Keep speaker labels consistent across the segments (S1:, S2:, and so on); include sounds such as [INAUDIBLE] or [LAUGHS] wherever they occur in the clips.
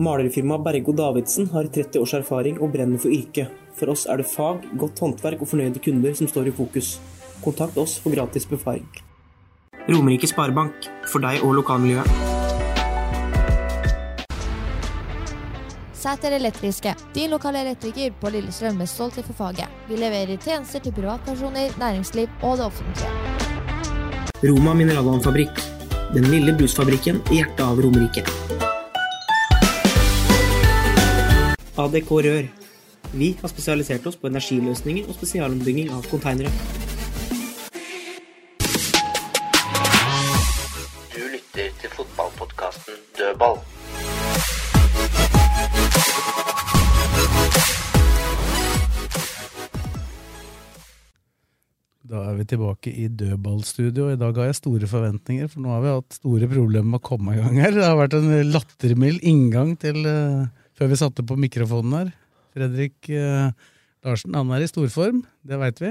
S1: Malerfirmaet Bergo Davidsen har 30 års erfaring og brenner for yrket. For oss er det fag, godt håndverk og fornøyde kunder som står i fokus. Kontakt oss for gratis befaring. Romerike Sparebank, for deg og lokalmiljøet.
S2: Sæter Elektriske, din lokale elektriker på Lillestrøm med stolthet for faget. Vi leverer tjenester til privatpersoner, næringsliv og det offentlige.
S1: Roma Mineralvannfabrikk. Den lille brusfabrikken i hjertet av Romerike. ADK Rør. Vi har spesialisert oss på energiløsninger og spesialombygging av konteinere.
S3: Du lytter til fotballpodkasten Dødball.
S4: Da er vi tilbake i dødballstudio. I dag har jeg store forventninger, for nå har vi hatt store problemer med å komme i gang her. Det har vært en lattermild inngang til eh, før vi satte på mikrofonen her. Fredrik eh, Larsen, han er i storform, det veit vi.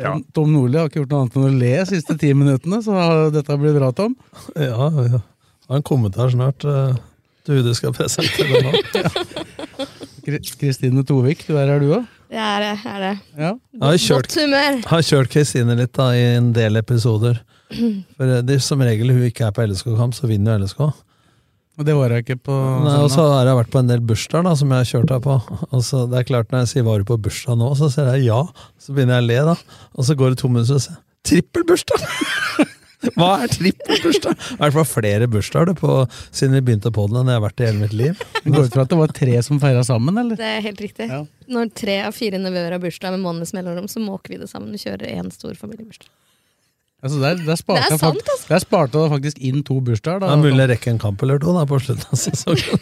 S5: Ja.
S4: Tom, Tom Nordli har ikke gjort noe annet enn å le de siste ti minuttene, så har- dette blir bra, Tom.
S5: Ja, ja. Har en kommentar snart. eh, Du, du skal presentere
S4: [LAUGHS]
S5: nå.
S4: Kri- Kristine Tovik, du er her du òg?
S2: Det er det. Er det.
S4: Ja.
S5: Jeg har kjørt,
S2: humør.
S5: har kjørt Kristine litt da, i en del
S2: [CLEARS THROAT]
S5: episoder. For eh, det er som regel hun ikke er på LSK-kamp, så vinner jo LSK.
S4: Og det var jeg ikke på sånn
S5: Nei, altså, og så har jeg vært på en del bursdager da, som jeg har kjørt her på. Og så det er klart Når jeg sier 'var du på bursdag nå', så sier jeg ja. Så begynner jeg å le, da. Og så går det to minutter, så sier jeg 'trippelbursdag'! [LAUGHS] Hva er trippelbursdag? Det har vært på flere bursdager du, på, siden vi begynte på den enn jeg har vært i hele mitt liv.
S4: Det går ut fra at det var tre som feira sammen, eller?
S2: Det er helt riktig.
S4: Ja.
S2: Når tre av fire nevøer har bursdag med måneds mellomrom, så måker vi det sammen og kjører én stor familiebursdag.
S4: Altså der, der sparte
S2: Det er
S4: jeg
S2: sant, altså.
S4: fakt- Der sparte jeg faktisk inn to bursdager.
S5: Det
S4: Da.
S5: er mulig jeg rekker en kamp eller to da, på
S2: [LAUGHS]
S5: slutten av sesongen.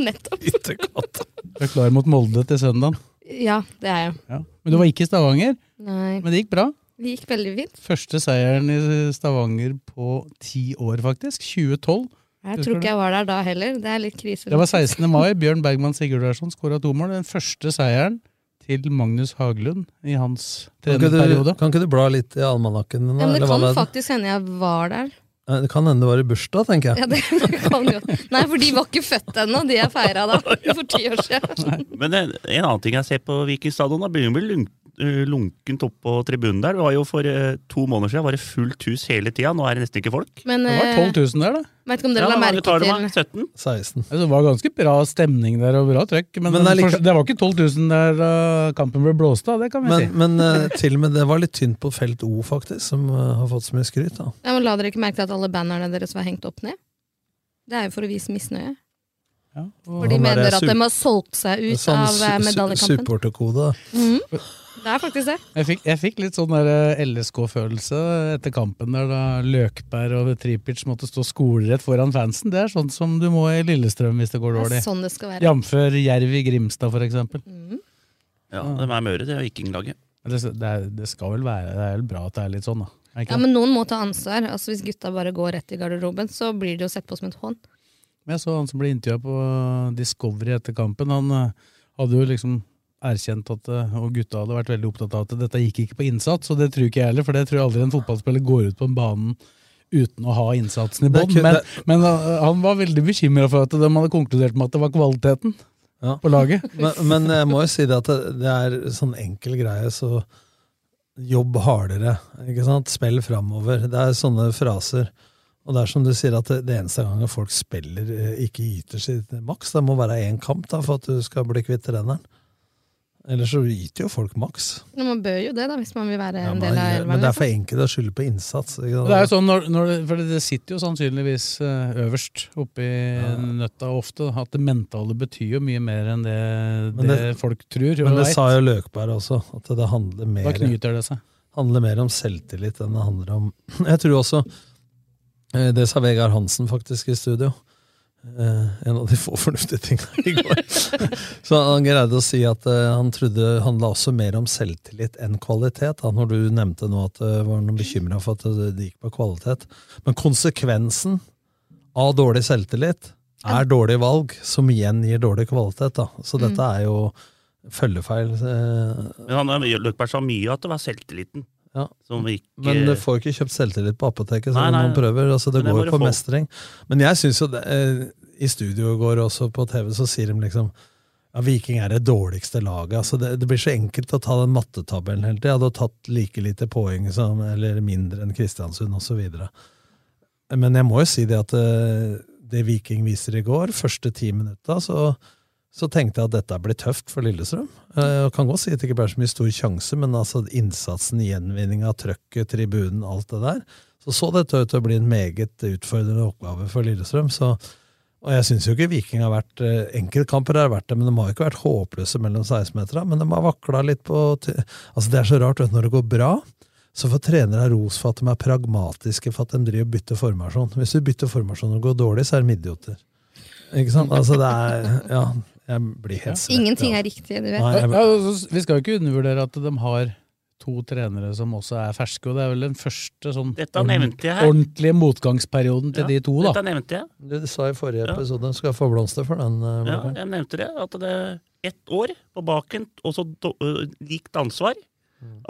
S2: Nettopp.
S5: Ytterkatt.
S4: Du er klar mot Molde til søndagen.
S2: Ja, det er jeg.
S4: Ja. Men du var ikke i Stavanger.
S2: Nei.
S4: Men det gikk bra.
S2: Det gikk veldig fint.
S4: Første seieren i Stavanger på ti år, faktisk. 2012.
S2: Jeg tror ikke jeg var der da heller. Det er litt krise.
S4: Det var 16. mai. Bjørn Bergman Sigurdarsson skåra to mål. Den første seieren til Magnus Haglund i hans
S5: Kan ikke, du,
S4: trenerperiode.
S5: kan ikke du bla litt i almanakken din?
S2: Ja,
S5: da,
S2: men
S5: eller
S2: det
S5: hva
S2: kan
S5: det er?
S2: faktisk hende jeg var der.
S5: Eh, det kan hende det var i bursdag, tenker jeg.
S2: Ja, det kan jo. Nei, for de var ikke født ennå, de jeg feira da for ti år siden.
S3: Men en, en annen ting jeg ser på Viking stadion, da begynner det å bli lunk, eh, lunkent opp på tribunen der. Det var jo For eh, to måneder siden var det fullt hus hele tida, nå er det nesten ikke folk.
S2: Men
S4: Det var
S2: eh,
S4: 12 000 der, da.
S2: vet ikke om dere la
S3: da var det-
S2: merke
S3: tar det
S2: til
S3: meg 17.
S5: 16.
S4: Altså, det var ganske bra stemning der og bra trøkk. Men,
S5: Men det er
S4: den
S5: like-
S4: første- det var ikke 12 000 der da kampen ble blåst av, det kan vi si.
S5: Men, men eh, til og med det var litt tynt på felt O, faktisk, som eh, har fått så mye skryt. da.
S2: Ja, men La dere ikke merke til at alle bannerne deres var hengt opp ned? Det er jo for å vise misnøye.
S4: Ja.
S2: For de
S5: Han er
S2: mener at
S5: su-
S2: de har solgt seg ut
S5: Sånn
S2: av eh,
S5: su- su-
S2: medaljekampen.
S5: Supporterkode.
S2: Mhm. Det er faktisk det.
S4: Jeg fikk, jeg fikk litt sånn der, eh, LSK-følelse etter kampen der da Løkberg og Tripic måtte stå skolerett foran fansen. Det er sånn som du må i Lillestrøm hvis det går
S2: Det
S4: dårlig.
S2: er sånn det skal være.
S4: Jamfør Jerv i Grimstad, for eksempel.
S2: Mhm.
S3: Ja, de er møre, det er vikinglaget.
S4: Men Det, det, er, det skal vel være det er vel bra at det er litt sånn, da. Er det ikke
S2: Ja,
S4: det?
S2: Men noen må ta ansvar. Altså Hvis gutta bare går rett i garderoben, så blir det jo sett på som et hån.
S4: Men jeg så han som ble intervjua på eh, Discovery etter kampen. Han eh, hadde jo liksom erkjent at eh, og gutta hadde vært veldig opptatt av at dette gikk ikke på innsats, og det tror ikke jeg heller, for det tror jeg aldri en fotballspiller går ut på en banen uten å ha innsatsen i
S5: Det er
S4: bånn.
S5: kun-
S4: Men,
S5: det-
S4: men eh, han var veldig bekymra for at de hadde konkludert med at det var kvaliteten
S5: [LAUGHS] Ja.
S4: på laget.
S5: Men, men jeg må jo si det at det, det er sånn enkel greie, så jobb hardere. ikke sant? Spill framover. Det er sånne fraser. Og det er som du sier, at det, det eneste gangen folk spiller eh, ikke yter sitt maks, det må være én kamp da, for at du skal bli kvitt treneren. Ellers så yter jo folk maks.
S2: Men man bør jo det, da, hvis man vil være
S5: Ja,
S2: en
S5: men,
S2: del av
S5: men det
S6: liksom.
S2: elveren.
S5: er for enkelt å skylde på innsats. Ikke sant?
S4: Det er jo sånn, når, når, det- for det sitter jo sannsynligvis eh, øverst oppi nøtta ofte, at det mentale betyr jo mye mer enn det,
S5: Men
S4: det,
S5: det-
S4: folk tror.
S5: men
S4: og
S5: det
S4: vet.
S5: sa jo Løkberg også, at det handler
S4: Da
S5: mer
S4: knyter det seg.
S5: handler mer om selvtillit enn [CLEARS THROAT] det handler om Jeg tror også eh, Det sa Vegard Hansen faktisk i studio. eh, en av de få [LAUGHS] fornuftige tingene i går. [LAUGHS] Så han greide å si at eh, han trodde det handla også mer om selvtillit enn kvalitet. Da, når du nevnte nå at det var noen bekymra for at det det gikk på kvalitet. Men konsekvensen av dårlig selvtillit er dårlige valg, som igjen gir dårlig kvalitet. Da. Så
S2: Mm.
S5: dette er jo følgefeil. eh,
S3: Men han har- Løkberg sa mye at det var selvtilliten
S5: Ja.
S3: som gikk
S5: Men du
S3: eh,
S5: får ikke kjøpt selvtillit på apoteket,
S3: Nei,
S5: selv om
S3: nei.
S5: man prøver. Altså, det
S3: Men det
S5: går
S3: må
S5: jo
S3: du
S5: på
S3: få.
S5: mestring. Men jeg syns jo det, eh, I studio i går, også på TV, så sier de liksom ja, Viking er det dårligste laget. Altså, det, det blir så enkelt å ta den mattetabellen hele tida. Du har tatt like lite poeng som, eller mindre enn Kristiansund, osv. Men jeg må jo si det at eh, det Viking viser i går, første ti minutta, så så tenkte jeg at dette blir tøft for Lillestrøm. Eh, Jeg kan godt si at det ikke ble så mye stor sjanse, men altså innsatsen, gjenvinninga, trøkket, tribunen, alt det der, så så dette ut til å bli en meget utfordrende oppgave for Lillestrøm. så og jeg syns jo ikke Viking har vært eh, Enkeltkamper har vært det, men de har jo ikke vært håpløse mellom 16-meterne. Men de har vakla litt på t- Altså, det er så rart, vet du, når det går bra, så får trenere ros for at de er pragmatiske for at de driver og bytter formasjon. Hvis du bytter formasjon og det går dårlig, så er de idioter. Ikke sant? Altså, det er Ja, jeg blir helt svett.
S6: Ingenting
S5: ja.
S6: er riktig, du vet.
S5: Nei,
S4: Ja,
S5: jeg,
S4: altså, vi skal jo ikke undervurdere at de har to trenere som også er ferske, og det er vel den første sånn
S3: Dette
S4: ordent-
S3: nevnte jeg her.
S4: ordentlige motgangsperioden til
S3: Ja,
S4: de to, da.
S3: Dette nevnte jeg.
S5: du sa i forrige
S3: Ja.
S5: episode du skal få blomster for den. eh,
S3: Ja,
S5: Blakkaren.
S3: jeg nevnte det. At det er ett år på baken, og så do- øh, likt ansvar.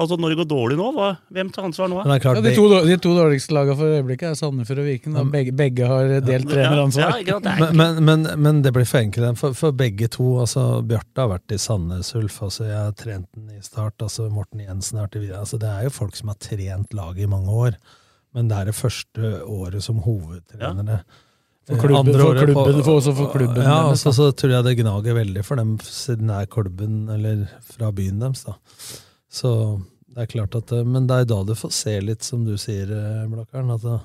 S3: Altså, når det går dårlig nå, hva, hvem tar ansvar nå?
S5: Mm. Men det er klart,
S4: Ja, de, to, dår- de to dårligste lagene for øyeblikket er Sandefjord og Viken. Da. Begge, begge har delt
S3: Ja,
S4: treneransvar.
S3: ja, ikke sant? Det er
S5: Men,
S3: ikke-
S5: men, men, men det blir for enkelt, for, for begge to. altså Bjarte har vært i Sandnes Ulf, altså jeg har trent den i start. altså Morten Jensen har vært i videre. altså Det er jo folk som har trent laget i mange år, men det er det første året som hovedtrenere.
S4: For klubben-
S5: Andre
S4: for
S5: året på-
S4: klubben, for også for klubben
S5: Ja,
S4: deres,
S5: altså, så tror jeg det gnager veldig for dem, siden det er klubben eller fra byen deres. da. Så det er klart at eh, Men det er da du får se litt, som du sier, eh, Blakkaren. at eh,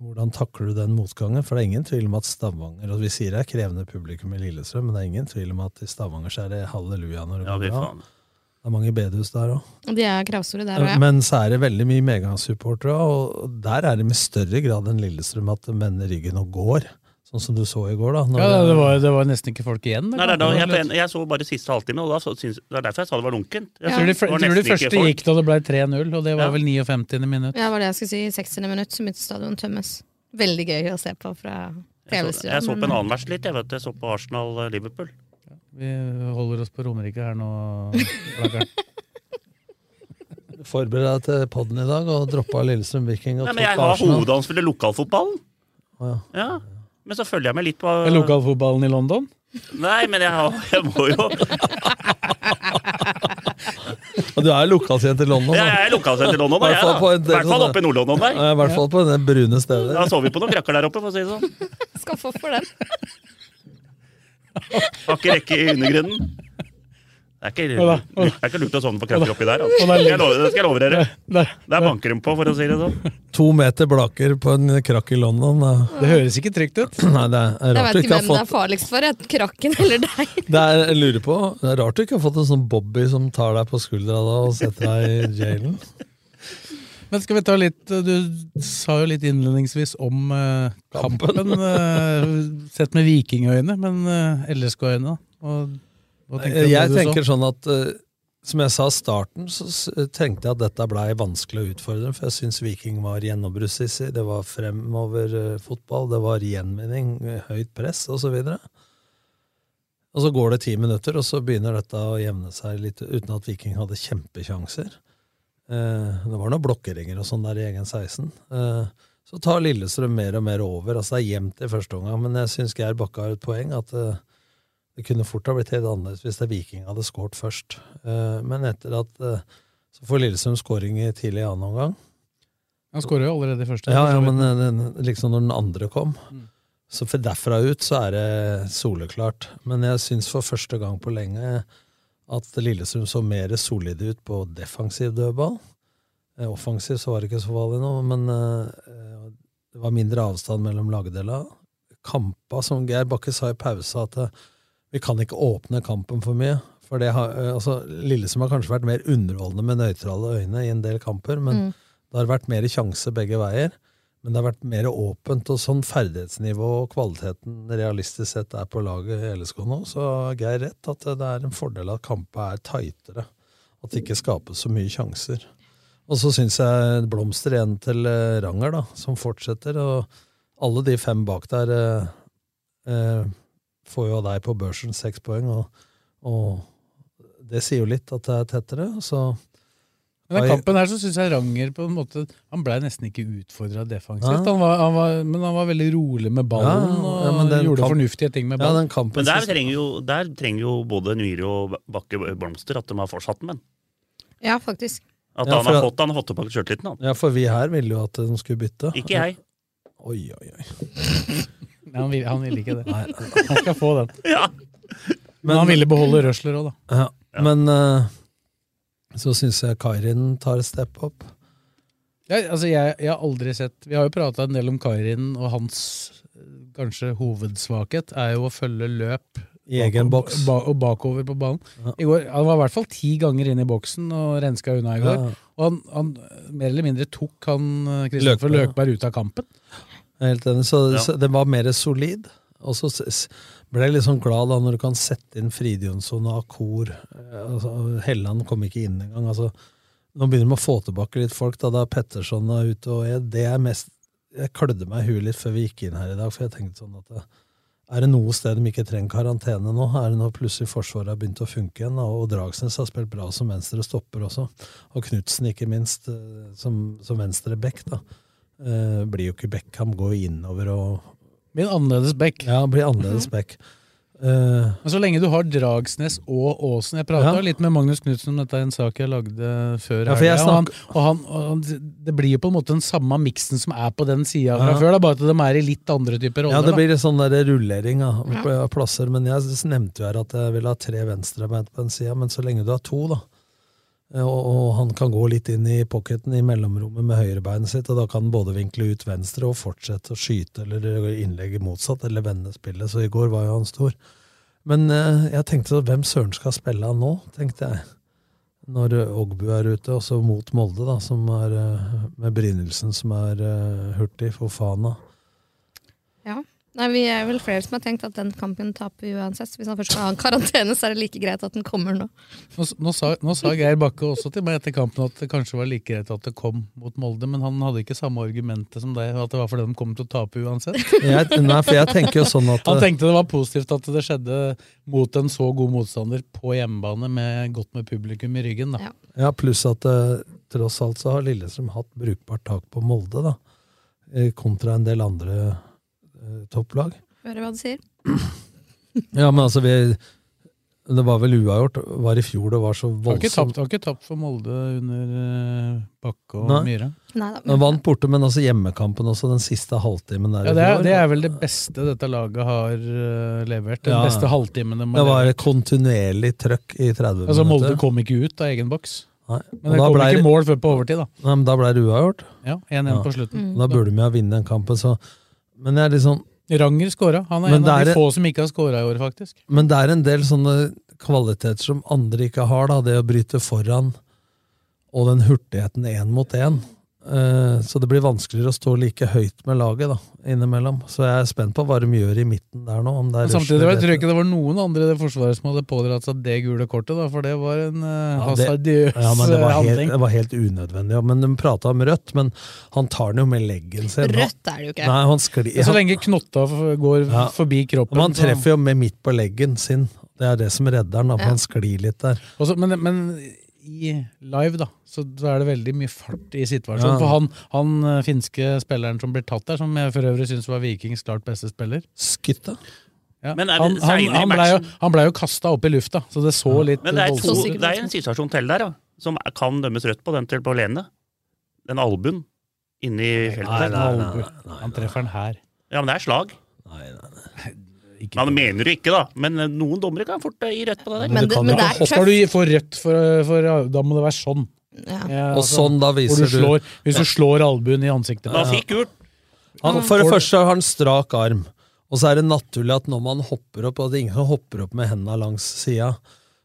S5: hvordan takler du den motgangen? For det er ingen tvil om at Stavanger og Vi sier det er krevende publikum i Lillestrøm, men det er ingen tvil om at i Stavanger så er det halleluja når det
S3: Ja,
S5: går
S3: fy
S5: bra.
S3: faen.
S5: Det er mange bedehus der òg.
S6: Og de er kravstore der òg, ja.
S5: Men så er det veldig mye medgangssupportere, og der er det med større grad enn Lillestrøm at de vender ryggen og går. Sånn som du så i går, da. når
S4: Ja, da, det, var, det var nesten ikke folk igjen.
S3: Nei, det er da,
S4: det var
S3: jeg,
S4: slett.
S3: jeg så bare siste halvtime, og da så, syns, det er derfor jeg sa det var lunkent. Jeg
S6: Ja.
S3: så-
S4: tror de,
S3: det var
S4: tror de
S3: nesten ikke
S4: første
S3: folk.
S4: gikk da det ble 3-0, og det var
S3: Ja.
S4: vel 59. minutt.
S6: Ja, det var det jeg skulle si. I 60. minutt så begynte stadion tømmes. Veldig gøy å se på fra
S3: Jeg så, jeg så
S6: TV-stua.
S3: på en annen vers litt, jeg vet Jeg så på Arsenal-Liverpool.
S4: Vi holder oss på Romerike her nå. Blakkaren.
S5: du forbereder deg til podden i dag og droppa Lillestrøm Viking og
S3: Nei,
S5: tok
S3: men jeg har
S5: Arsenal.
S3: hovedansvar i lokalfotballen.
S5: Å, ja.
S3: Ja. Men så følger jeg med litt på
S4: Er Lokalfotballen i London?
S3: Nei, [LAUGHS] men jeg, har, jeg må jo
S5: Og du er lokalkjent i London, da.
S3: Jeg er lokalsett i London, da, jeg,
S5: I hvert
S3: da.
S5: fall på en
S3: I
S5: del
S3: hvert fall
S5: sånne-
S3: oppe i Nord-London der.
S5: Ja, I hvert fall på en del brune steder.
S3: Da så vi på noen krakker der oppe, for å si det sånn.
S6: Skal få for den.
S3: Har ikke rekke i undergrunnen. Det er ikke,
S4: Hva da?
S3: det er ikke lurt å sovne på krakker oppi der. Altså.
S4: Hva da?
S3: Skal jeg love, det skal jeg love dere.
S4: Der.
S3: Der banker de på, for å si det sånn.
S5: To meter blaker på en krakk i London. da.
S4: Det høres ikke trygt ut.
S5: [CLEARS THROAT] Nei, det er
S6: Jeg
S5: rart
S6: vet
S5: du
S6: ikke
S5: ikke har
S6: hvem det er
S5: fått
S6: farligst for, jeg. krakken eller deg.
S5: [LAUGHS] det er, jeg lurer på, det er rart du ikke har fått en sånn Bobby som tar deg på skuldra da og setter deg i jailen.
S4: Men skal vi ta litt eh, Du sa jo litt innledningsvis om eh, kampen, eh, sett med vikingøyne, men eh, LSK-øyne, da? Og, hva tenkte du om
S5: Jeg
S4: det du så?
S5: tenker sånn at eh, som jeg sa i starten, så s- tenkte jeg at dette blei vanskelig å utfordre. For jeg syns Viking var gjennombruddssissig. Det var fremover eh, fotball, det var gjenvinning, eh, høyt press osv. Og så går det ti minutter, og så begynner dette å jevne seg litt, uten at Viking hadde kjempesjanser. Eh, Det var noen blokkeringer og sånn der i egen 16. Eh, Så tar Lillestrøm mer og mer over. Altså Det er jevnt i første omgang, men jeg syns Geir Bakke har et poeng. at eh, det kunne fort ha blitt helt annerledes hvis det Viking hadde skåret først. Eh, Men etter at eh, så får Lillestrøm skåring i tidlig i annen omgang.
S4: Han skåra jo allerede i første.
S5: Ja, ja,
S4: for så vidt.
S5: men eh, den, liksom når den andre kom.
S4: Mm.
S5: Så for derfra ut så er det soleklart. Men jeg syns for første gang på lenge at Lillestrøm så mer solide ut på defensiv dødball. Eh, Offensiv så var det ikke så farlig nå, men eh, eh, det var mindre avstand mellom lagdela. Kampa, som Geir Bakke sa i pausa, at eh, vi kan ikke åpne kampen for mye. For det har, eh, altså, Lillestrøm har kanskje vært mer underholdende med nøytrale øyne i en del kamper, men
S6: Mm.
S5: det har vært mer sjanse begge veier. Men det har vært mer åpent, og sånn ferdighetsnivå og kvaliteten realistisk sett er på laget i LSK nå, så har Geir rett at det er en fordel at kampene er tightere. At det ikke skapes så mye sjanser. Og så syns jeg blomster igjen til eh, Ranger, da, som fortsetter. Og alle de fem bak der eh, eh, får jo av deg på børsen seks poeng, og, og det sier jo litt at det er tettere. Så
S4: Men
S5: eh,
S4: den kampen her så syns jeg Ranger på en måte Han blei nesten ikke utfordra defensivt.
S5: Ja.
S4: Han var, han var, men han var veldig rolig med ballen og gjorde fornuftige ting med ballen.
S3: Men der trenger, jo, der trenger jo både Nyhre og Bakke Blomster at de har fortsatt den. men.
S6: Ja, faktisk.
S3: At
S5: Ja,
S3: han,
S5: for
S3: har
S5: at-
S3: fått, han har fått tilbake sjøltilliten, han.
S5: Ja, for vi her ville jo at de skulle bytte.
S3: Ikke jeg.
S5: Oi, oi, oi.
S4: Nei, han, ville, han ville ikke det. Han skal få den. Men
S5: Men-
S4: han ville beholde Røsler òg, da.
S5: Ja. Men eh, så syns jeg Kairin tar et step up.
S4: Jeg, altså jeg, jeg har aldri sett Vi har jo prata en del om Kairin, og hans eh, kanskje hovedsvakhet er jo å følge løp
S5: I egen boks.
S4: ba, og bakover på banen. I går, Han var i hvert fall ti ganger inn i boksen og renska unna i går.
S5: Ja.
S4: Og han, han mer eller mindre tok han eh, Kristoffer
S5: Løkberg, ja.
S4: Løkberg ut av kampen.
S5: Jeg er Helt enig. Så,
S4: Ja.
S5: så den var mer solid. Og så s- s- ble jeg litt sånn glad da når du kan sette inn Fridjonsson og Akor. Eh, Altså, Helland kom ikke inn engang. Altså, nå begynner de å få tilbake litt folk. Da, da Petterson er ute og jeg, det er mest, jeg klødde meg i huet litt før vi gikk inn her i dag, for jeg tenkte sånn at det- er det noe sted de ikke trenger karantene nå? Er det nå plutselig Forsvaret har begynt å funke igjen? Og Dragsnes har spilt bra som venstre stopper også. Og Knutsen, ikke minst, eh, som, som venstre back. da. Eh, blir jo ikke Beckham, går jo innover og
S4: Blir annerledes Mhm. back.
S5: Ja, blir annerledes back. Eh,
S4: Men så lenge du har Dragsnes og Aasen Jeg prata
S5: Ja.
S4: litt med Magnus Knutsen om dette, er en sak jeg lagde før.
S5: Ja, for jeg
S4: helga, og, han, og, han, og han, Det blir jo på en måte den samme miksen som er på den sida fra
S5: Ja.
S4: før, da, bare at de er i litt andre typer roller.
S5: ja, det
S4: da.
S5: blir en sånn der rullering av av plasser. Men jeg s- nevnte jo her at jeg vil ha tre venstrebeint på en side, men så lenge du har to, da eh, og, og han kan gå litt inn i pocketen i mellomrommet med høyrebeinet sitt, og da kan han både vinkle ut venstre og fortsette å skyte eller innlegge motsatt, eller vende spillet. Så i går var jo han stor. Men eh, jeg tenkte så, hvem søren skal spille han nå, tenkte jeg. Når eh, Ogbu er ute, og så mot Molde, da, som er eh, med Brynildsen, som er eh, hurtig for Fana.
S6: Ja. Nei, vi er vel flere som har tenkt at den kampen taper vi uansett. så Hvis han først skal ha en karantene, så er det like greit at den kommer nå.
S4: Nå, s- nå, sa, nå sa Geir Bakke også til meg etter kampen at det kanskje var like greit at det kom mot Molde, men han hadde ikke samme argumentet som deg, at det var fordi de kom til å tape uansett.
S5: Jeg- nei, for jeg tenker jo sånn at-
S4: Han tenkte det var positivt at det skjedde mot en så god motstander på hjemmebane med godt med publikum i ryggen, da.
S5: Ja, pluss at eh, tross alt så har Lillestrøm hatt brukbart tak på Molde, da. eh, Kontra en del andre eh, topplag.
S6: Hører hva du sier.
S5: Ja, men altså, vi Det var vel uavgjort. Var i fjor det var så
S4: Har ikke,
S5: voldsomt
S4: tapt, har ikke tapt for Molde under eh, Bakke og
S5: Nei.
S4: Myhre.
S6: Neida,
S5: De vant borte, men altså hjemmekampen også, den siste halvtimen der.
S4: Ja,
S5: i
S4: det, er,
S5: fjor.
S4: det er vel det beste dette laget har eh, levert. Den
S5: Ja.
S4: beste halvtimen de
S5: Det
S4: har
S5: var
S4: levert.
S5: et kontinuerlig trøkk i 30
S4: Altså, Molde
S5: minutter.
S4: kom ikke ut av egen boks.
S5: Nei.
S4: Men
S5: Og
S4: det
S5: da
S4: kom
S5: ble det-
S4: ikke mål før på overtid, da.
S5: Nei, men da ble det uavgjort.
S4: Ja, 1-1 på slutten.
S5: Da burde vi ha vunnet den kampen, så Men jeg er litt sånn
S4: Ranger skåra. Han er en
S5: Men
S4: av
S5: det
S4: de
S5: er-
S4: få som ikke har skåra i år, faktisk.
S5: Men det er en del sånne kvaliteter som andre ikke har, da. Det å bryte foran og den hurtigheten én mot én. Eh, Så det blir vanskeligere å stå like høyt med laget da, innimellom. Så jeg er spent på hva de gjør i midten der nå. Om det
S4: Men
S5: er
S4: samtidig
S5: Rushden
S4: var- jeg tror
S5: eller-
S4: jeg ikke det var noen andre i det forsvaret som hadde pådratt seg det gule kortet, da, for det var en uh,
S5: Ja, det-
S4: hasardiøs
S5: ja, men det var
S4: eh,
S5: helt,
S4: handling.
S5: det var helt unødvendig. Ja, men De prata om rødt, men han tar den jo med leggen sin.
S6: Rødt er det jo ikke.
S5: Nei, han sklir,
S4: Så lenge knotta f- går
S5: Ja.
S4: forbi kroppen
S5: Men han
S4: så-
S5: treffer jo med midt på leggen sin. Det er det som redder han, da, for
S4: Ja.
S5: han sklir litt der.
S4: Og så- men, men i live, da, så så er det veldig mye fart i situasjonen.
S5: Ja.
S4: For han, han eh, finske spilleren som ble tatt der, som jeg for øvrig syns var Vikings klart beste spiller
S5: Skytta?
S4: Ja.
S3: Men er det
S4: han, han,
S3: senere i
S4: han blei jo,
S3: matchen?
S4: han ble jo kasta opp i lufta, så det så litt
S3: Men det er, to,
S4: voldsomt ut.
S3: det er en situasjon til der, ja, som er- kan dømmes rødt på den til på Lene. Den albuen inni feltet.
S4: Nei, nei, nei, nei. Han treffer den her.
S3: Ja, men det er slag. Man mener jo ikke, da. Men eh, noen dommere kan fort eh, gi rødt på det der.
S6: Men det- men det er
S4: Skal du gi- få rødt, for, for da må det være sånn. Ja,
S5: Og sånn da viser
S4: hvor du
S5: du-
S4: slår, Hvis
S5: Ja.
S4: du slår albuen i ansiktet.
S5: Da fikk
S3: gult.
S5: Han, for det første har han strak arm, og så er det naturlig at når man hopper opp, og det er ingen som hopper opp med hendene langs sida,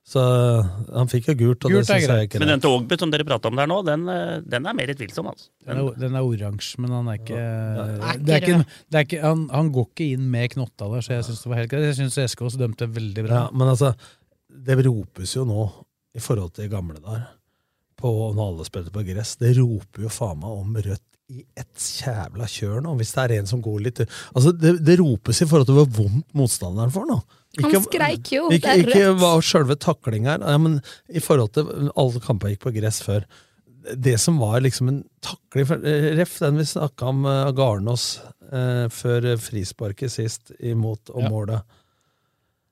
S5: Så eh, han fikk jo gult, og
S4: Gult
S5: det
S4: er
S5: syns jeg ikke
S3: Men den til Ågby som dere prata om der nå, den, eh, den er mer litt vilsom, altså.
S4: Den er, den er oransje, men han er ikke,
S5: Ja.
S4: det er ikke, en- det er ikke han, han går ikke inn med knotta der, så jeg syns det var helt greit. Jeg syns SK også dømte veldig bra.
S5: Ja, men altså, det ropes jo nå, i forhold til gamle dager, på når alle spilte på gress, det roper jo faen meg om rødt i ett jævla kjør nå, hvis det er en som går litt Altså, det, det ropes i forhold til hvor vondt motstanderen får nå.
S6: Han skreik jo,
S5: Ikke,
S6: det er
S5: ikke
S6: rødt.
S5: hva sjølve taklinga er, ja, men i forhold til alle kamper gikk på gress før. Det som var liksom en takling for- eh, Ref, den vi snakka om eh, av Garnås eh, før eh, frisparket sist, imot og
S4: Ja.
S5: målet.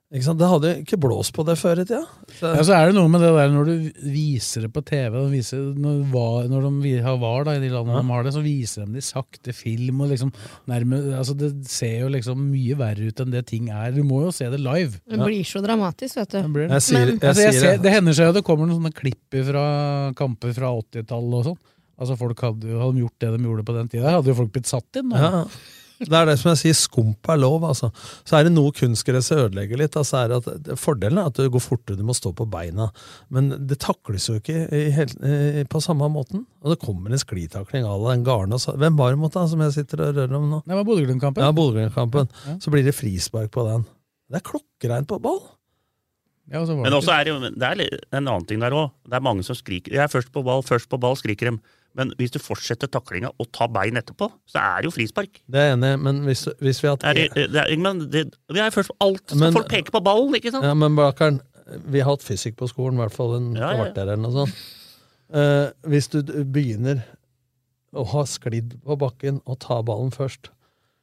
S5: Ikke sant? Det hadde jo ikke blåst på det før i tida. Så-
S4: Ja, så er det noe med det der når du viser det på TV, og viser, når, var, når de vi- har VAR da, i de landene
S5: Ja.
S4: de har det, så viser de det i sakte film. og liksom nærme, altså Det ser jo liksom mye verre ut enn det ting er. Du må jo se det live.
S6: Det blir så dramatisk, vet du.
S5: Jeg sier-
S6: Men-
S5: jeg
S4: altså, jeg
S5: sier
S4: ser,
S5: det.
S4: det hender seg jo det kommer noen sånne klipp fra kamper fra 80-tallet og sånn. Altså Folk hadde, jo- hadde de gjort det de gjorde på den tida, hadde jo folk blitt satt inn. nå.
S5: Ja. Det er det som jeg sier, skump er lov. Altså. Så er det noe kunstgresset ødelegger litt. Altså er det at, det- fordelen er at det går fortere, du må stå på beina. Men det takles jo ikke i, hel- eh, på samme måten. Og det kommer en sklitakling à la en Garnås. altså. Hvem var det mot, da, som jeg sitter og rører om nå?
S4: Det var Bodø-Glimt-kampen.
S5: Ja, Bodø-Glimt-kampen.
S4: Ja.
S5: Så blir det frispark på den. Det er klokkereint på ball!
S4: Ja, og så var
S3: Men
S4: det-
S3: også er det, jo- det er litt- en annen ting der òg. Det er mange som skriker. Jeg er først på ball, først på ball, skriker dem. Men hvis du fortsetter taklinga og tar bein etterpå, så er det jo frispark.
S5: Det er jeg enig i, men hvis, hvis vi har
S3: Det
S5: hatt
S3: er, det er, men det, vi er først på alt.
S5: Men-
S3: så folk peker på ballen, ikke sant?
S5: Ja, men Blakkaren, vi har hatt fysikk på skolen, i hvert fall en
S3: Ja, ja, ja.
S5: kvarter eller noe sånt. Eh, hvis du d- begynner å ha sklidd på bakken og ta ballen først,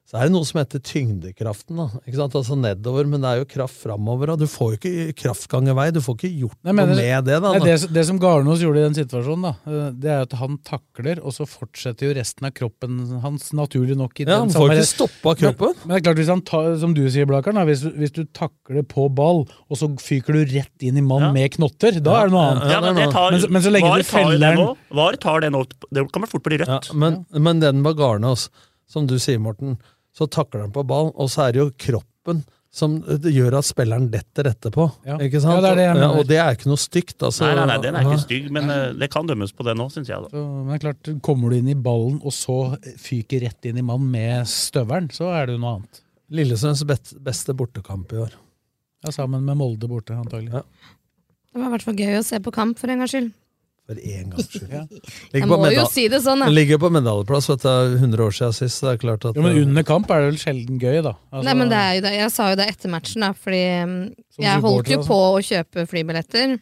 S5: så er det noe som heter tyngdekraften. da, ikke sant? Altså nedover, men det er jo kraft framover. Og du får jo ikke kraftgangevei, du får ikke gjort
S4: Nei, men
S5: noe med det. da.
S4: Nei, det, det som Garnås gjorde i den situasjonen, da, eh, det er at han takler, og så fortsetter jo resten av kroppen hans naturlig nok. I
S5: ja,
S4: den
S5: Han får
S4: samme-
S5: ikke stoppa kroppen.
S4: Men det er klart, hvis han tar, som du sier, Blakeren, da, hvis, hvis du takler på ball, og så fyker du rett inn i mann
S3: Ja.
S4: med knotter, da er det noe annet.
S3: Ja, men, det tar,
S4: Men så- men så lenge
S3: var
S4: du
S3: tar jo
S4: feller
S3: det
S4: den-
S3: nå. Var tar det nå. Det kan man fort bli
S5: Ja,
S3: rødt.
S5: men, men den med Garnås, som du sier, Morten, så takler han på ball, og så er det jo kroppen som eh, det gjør at spilleren detter etterpå.
S4: Ja.
S5: Ikke sant?
S4: Ja, det er det jeg
S5: ja,
S4: mener.
S5: og det er ikke noe stygt. Altså.
S3: Nei, nei, nei, den er
S5: Ja.
S3: ikke stygg, men eh, det kan dømmes på det nå, syns jeg. da.
S4: Så, men det er klart, kommer du inn i ballen, og så fyker rett inn i mann med støvelen, så er det jo noe annet.
S5: Lillestrøms bet- beste bortekamp i år.
S4: Ja, sammen med Molde borte, antagelig.
S5: Ja.
S6: Det var i hvert fall gøy å se på kamp, for en gangs skyld.
S5: For én gangs skyld.
S4: Ja.
S5: Ligger
S6: Jeg
S5: på
S6: må jo
S5: meda-
S6: si det sånn,
S5: Den
S6: da.
S5: ligger på medaljeplass, vet du. det er 100 år siden sist. så Det er klart at
S4: Jo, men under kamp er det vel sjelden gøy, da. Altså,
S6: Nei, men det er jo det. Jeg sa jo det etter matchen, da, fordi mm,
S4: Som
S6: jeg holdt jo
S4: supporter, altså.
S6: på å kjøpe flybilletter.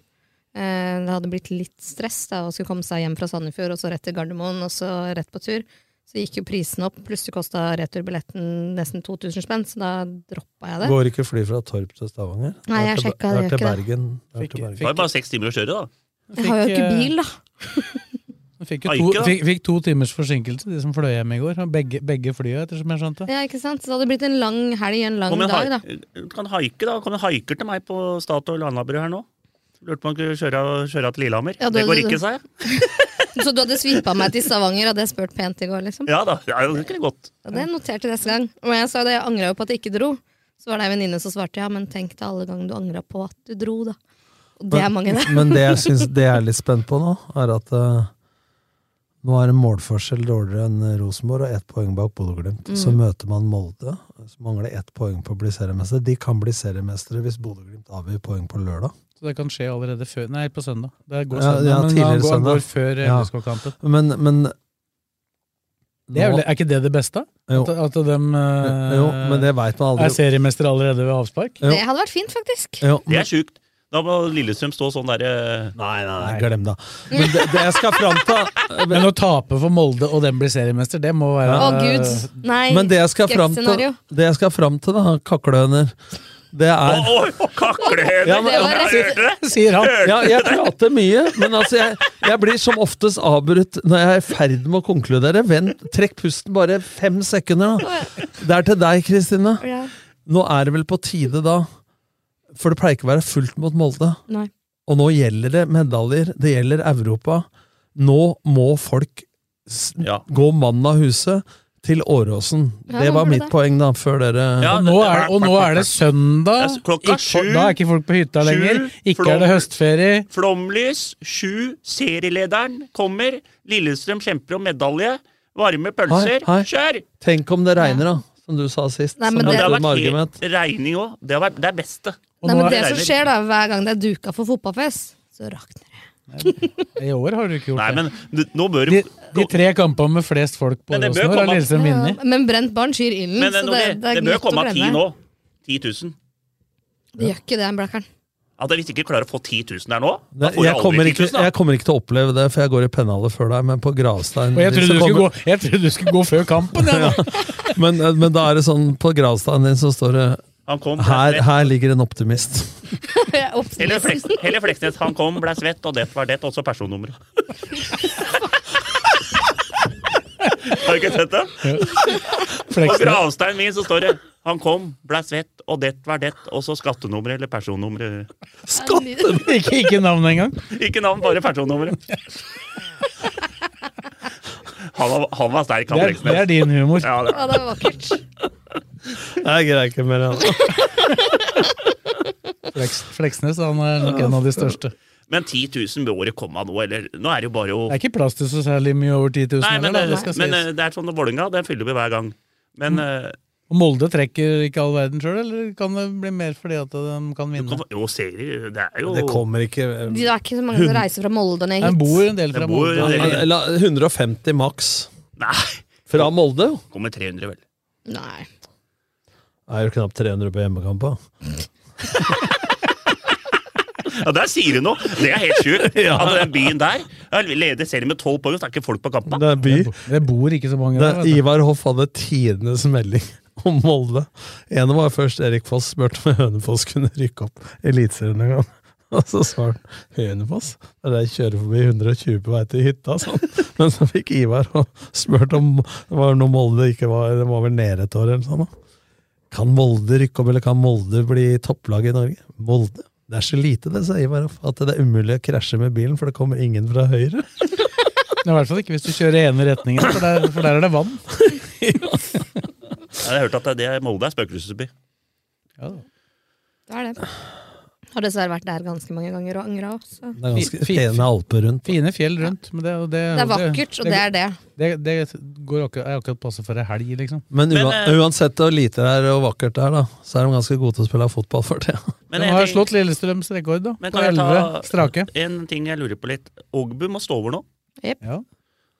S6: Eh, Det hadde blitt litt stress da, å skulle komme seg hjem fra Sandefjord og så rett til Gardermoen og så rett på tur. Så gikk jo prisen opp, plutselig kosta returbilletten nesten 2000 spenn, så da droppa jeg det.
S5: Går ikke fly fra Torp til Stavanger?
S6: Nei,
S5: Det er
S6: jeg
S5: til-
S6: sjekka, det
S5: det. er
S6: gjør
S5: til
S6: ikke det.
S5: Bergen. Det er
S4: Fikk- eh,
S5: til Bergen.
S3: Det var jo bare seks timer å kjøre, da.
S6: Jeg har jo ikke bil, da.
S4: Fikk, jo
S3: Aike,
S4: to,
S3: da.
S4: fikk, fikk to timers forsinkelse, de som fløy hjem i går. Begge, begge flya, ettersom jeg skjønte.
S6: Ja, ikke sant? Så det hadde blitt en lang helg, en lang
S3: Kom en,
S6: dag, da.
S3: hai- du kan haike, da. Kom en haiker til meg på Statoil Alnabru her nå. Lurte på om han kunne kjøre, kjøre til Lillehammer.
S6: Ja,
S3: det
S6: du-
S3: går ikke, sa jeg.
S6: Så du hadde svippa meg til Stavanger, hadde jeg spurt pent i går, liksom.
S3: Ja da, ja, det kunne gått.
S6: Ja, det noterte jeg neste gang. Og jeg sa det, jeg angra jo på at jeg ikke dro. Så var det ei venninne som svarte ja, men tenk deg alle ganger du angra på at du dro, da. Og det er mange, det.
S5: Men det jeg syns det jeg er litt spent på nå, er at eh, nå er det målforskjell dårligere enn Rosenborg og ett poeng bak Bodø-Glimt. Så
S4: Mm.
S5: møter man Molde, som mangler ett poeng på å bli seriemestere. De kan bli seriemestere hvis Bodø-Glimt avgir poeng på lørdag.
S4: Så det kan skje allerede før Nei, på søndag. Det går
S5: Ja,
S4: søndag,
S5: ja,
S4: men
S5: tidligere
S4: han går, han
S5: søndag.
S4: går før
S5: Ja.
S4: LSK-kampen.
S5: Men, men
S4: Det er,
S5: nå-
S4: vel, er ikke det det beste?
S5: jo,
S4: At, at de eh,
S5: jo, men det veit man
S4: er
S5: aldri.
S4: seriemester allerede ved avspark?
S5: Jo.
S6: Det hadde vært fint, faktisk.
S5: Jo,
S3: Det
S5: men,
S3: er sjukt. Da må Lillestrøm stå sånn derre
S5: nei, nei, nei, glem det. Men det, det jeg skal fram til
S4: [LAUGHS] Men å tape for Molde og den blir seriemester, det må være
S6: Å, gud. Nei.
S5: Men det jeg skal fram til,
S6: skrekkscenario.
S5: det jeg skal fram til da, kaklehøner, det
S3: Å,
S5: er
S3: å, å, kaklehøner!
S5: Ja, men-
S3: Ja, men jeg hørte det!
S4: Sier han.
S5: Ja, jeg prater mye, men altså jeg, jeg blir som oftest avbrutt når jeg er i ferd med å konkludere. Vent, trekk pusten bare fem sekunder, da. Det er til deg, Kristine.
S6: Ja.
S5: Nå er det vel på tide, da. For det pleier ikke å være fullt mot Molde.
S6: Nei.
S5: Og nå gjelder det medaljer, det gjelder Europa. Nå må folk s-
S3: Ja.
S5: gå mannen av huset. til Åråsen.
S4: Ja,
S5: det
S4: man
S5: var
S4: burde
S5: mitt
S4: det.
S5: poeng, da, før dere
S4: og, nå er, og nå er det søndag.
S5: Altså, klokka
S4: Ikke-
S5: sju-
S4: da er ikke folk på hytta
S5: sju,
S4: lenger. Ikke
S3: flom-
S4: er det høstferie.
S3: Flomlys, sju, serielederen kommer. Lillestrøm kjemper om medalje. Varme
S5: Hei,
S3: pølser.
S5: hei.
S3: Kjør!
S5: Tenk om det regner, da, som du sa sist.
S6: Nei,
S5: som
S6: men
S5: var
S6: det-
S3: har
S5: ditt
S3: vært
S5: argument.
S3: helt regning òg. Det, har vært- det er beste.
S6: Nei, men det som skjer da, hver gang det er duka for fotballfest, så rakner
S4: I år har du ikke gjort
S3: Nei, men du- nå bør
S4: det. De, de tre kampene med flest folk på
S3: Men det bør
S4: Åråsen i år har
S3: komme-
S4: Lillestrøm
S6: det.
S4: vunnet.
S6: Men brent barn skyr ilden,
S3: Men eh,
S6: så det,
S3: Norge,
S6: det er
S3: det bør
S6: lett å
S3: komme av ti
S6: glemme.
S3: nå. 10 000.
S6: Det gjør ikke det, [LAUGHS] Blakkaren.
S3: At hvis ikke klarer å få 10 000 der nå, da
S5: Nei,
S3: får
S5: jeg,
S3: jeg
S5: kommer
S3: aldri 10
S5: ikke,
S3: 000. Da.
S5: jeg kommer ikke til å oppleve det, for jeg går i pennalet før deg, men på gravsteinen
S4: Og jeg
S5: din
S4: trodde, du
S5: så
S4: skulle gå,
S5: kommer-
S4: jeg trodde du skulle gå før kampen! Jeg, nå.
S5: men, men da er det sånn, på gravsteinen din så står det
S3: Han kom,
S5: her,
S3: ble-
S5: her ligger en optimist.
S3: Eller Fleksnes, Helle Fleksnes, han kom, ble svett, og det var det, også personnummeret. Har du ikke sett det? På
S4: Fleksnes.
S3: gravsteinen min så står det 'Han kom, ble svett, og det var det', også skattenummeret eller personnummeret.
S4: [LAUGHS] Ikke, ikke navnet engang.
S3: Ikke navn, bare personnummeret. Han var, han var sterk, han
S4: Det er,
S3: Fleksnes.
S4: det er din humor.
S3: Ja, det
S6: Ja, det var vakkert.
S5: Jeg greier ikke mer. jeg. altså.
S4: Fleks, Fleksnes han er nok en av de største.
S3: Men 10 000 bør året komme nå, eller Nå er det jo bare å
S4: Det er ikke plass til så særlig mye over 10 000.
S3: Nei, men,
S4: heller, da,
S3: det,
S4: det skal
S3: men
S4: sies. Mm.
S3: eh, det er sånn at Vålerenga, den fyller vi hver gang. Men eh,
S4: Og Molde trekker ikke all verden sjøl, eller kan det bli mer fordi at de kan vinne?
S3: kom- jo, serier Det er jo
S5: Det kommer ikke
S4: eh,
S6: Det er ikke så mange som reiser fra Molde ned
S4: Den
S6: hit.
S4: bor en del fra
S3: Det bor en
S4: Molde.
S3: del.
S5: Eh, la- 150 maks
S3: Nei,
S5: fra Molde. jo.
S3: kommer 300, vel.
S6: Nei.
S5: Det er jo knapt 300 på hjemmekampa.
S3: [LAUGHS] Ja, Der sier du noe! Det er helt
S5: [LAUGHS]
S3: sjukt. Altså, den byen der jeg leder serien med tolv poeng, og så er ikke folk på kampen.
S5: Det er by.
S4: Det bor ikke så mange
S5: Det
S4: der.
S5: er
S4: vet du.
S5: Ivar Hoff hadde tidenes melding [LAUGHS] om Molde. En var først Erik Foss spurte om Hønefoss kunne rykke opp Eliteserien en gang. [LAUGHS] Og så svarte han Hønefoss? Det er der jeg kjører forbi 120 på vei til hytta. Sånn. [LAUGHS] Men så fikk Ivar og spurt om det var noe Molde ikke var Det var vel nede et år eller sånn. da. Kan Molde rykke opp, eller kan Molde bli topplag i Norge? Molde? Det er så lite, det, sa Ivar Hoff, at det er umulig å krasje med bilen, for det kommer ingen fra høyre.
S4: I hvert fall ikke hvis du kjører ene retningen, for der, for der er det vann.
S3: Jeg har hørt at det er Molde er spøkelsesby.
S4: Ja, da.
S6: Det er det. Har dessverre vært der ganske mange ganger og angra. så.
S5: Det er ganske
S4: Fi- fi-
S5: fine alper rundt.
S4: Fine fjell rundt. Men det, og det,
S6: Det er vakkert, og det er det.
S4: det, det, går akkurat, er akkurat passe for ei helg, liksom.
S5: Men,
S3: Men,
S5: ua
S3: eh,
S5: uansett hvor lite det er og vakkert det er, da, så er de ganske gode til å spille fotball for det. [LAUGHS]
S4: De har slått Lillestrøms rekord, da.
S3: Men
S4: På
S3: kan jeg ta-
S4: 11 strake.
S3: en ting jeg lurer på litt. Ogbu må stå over nå,
S4: Ja.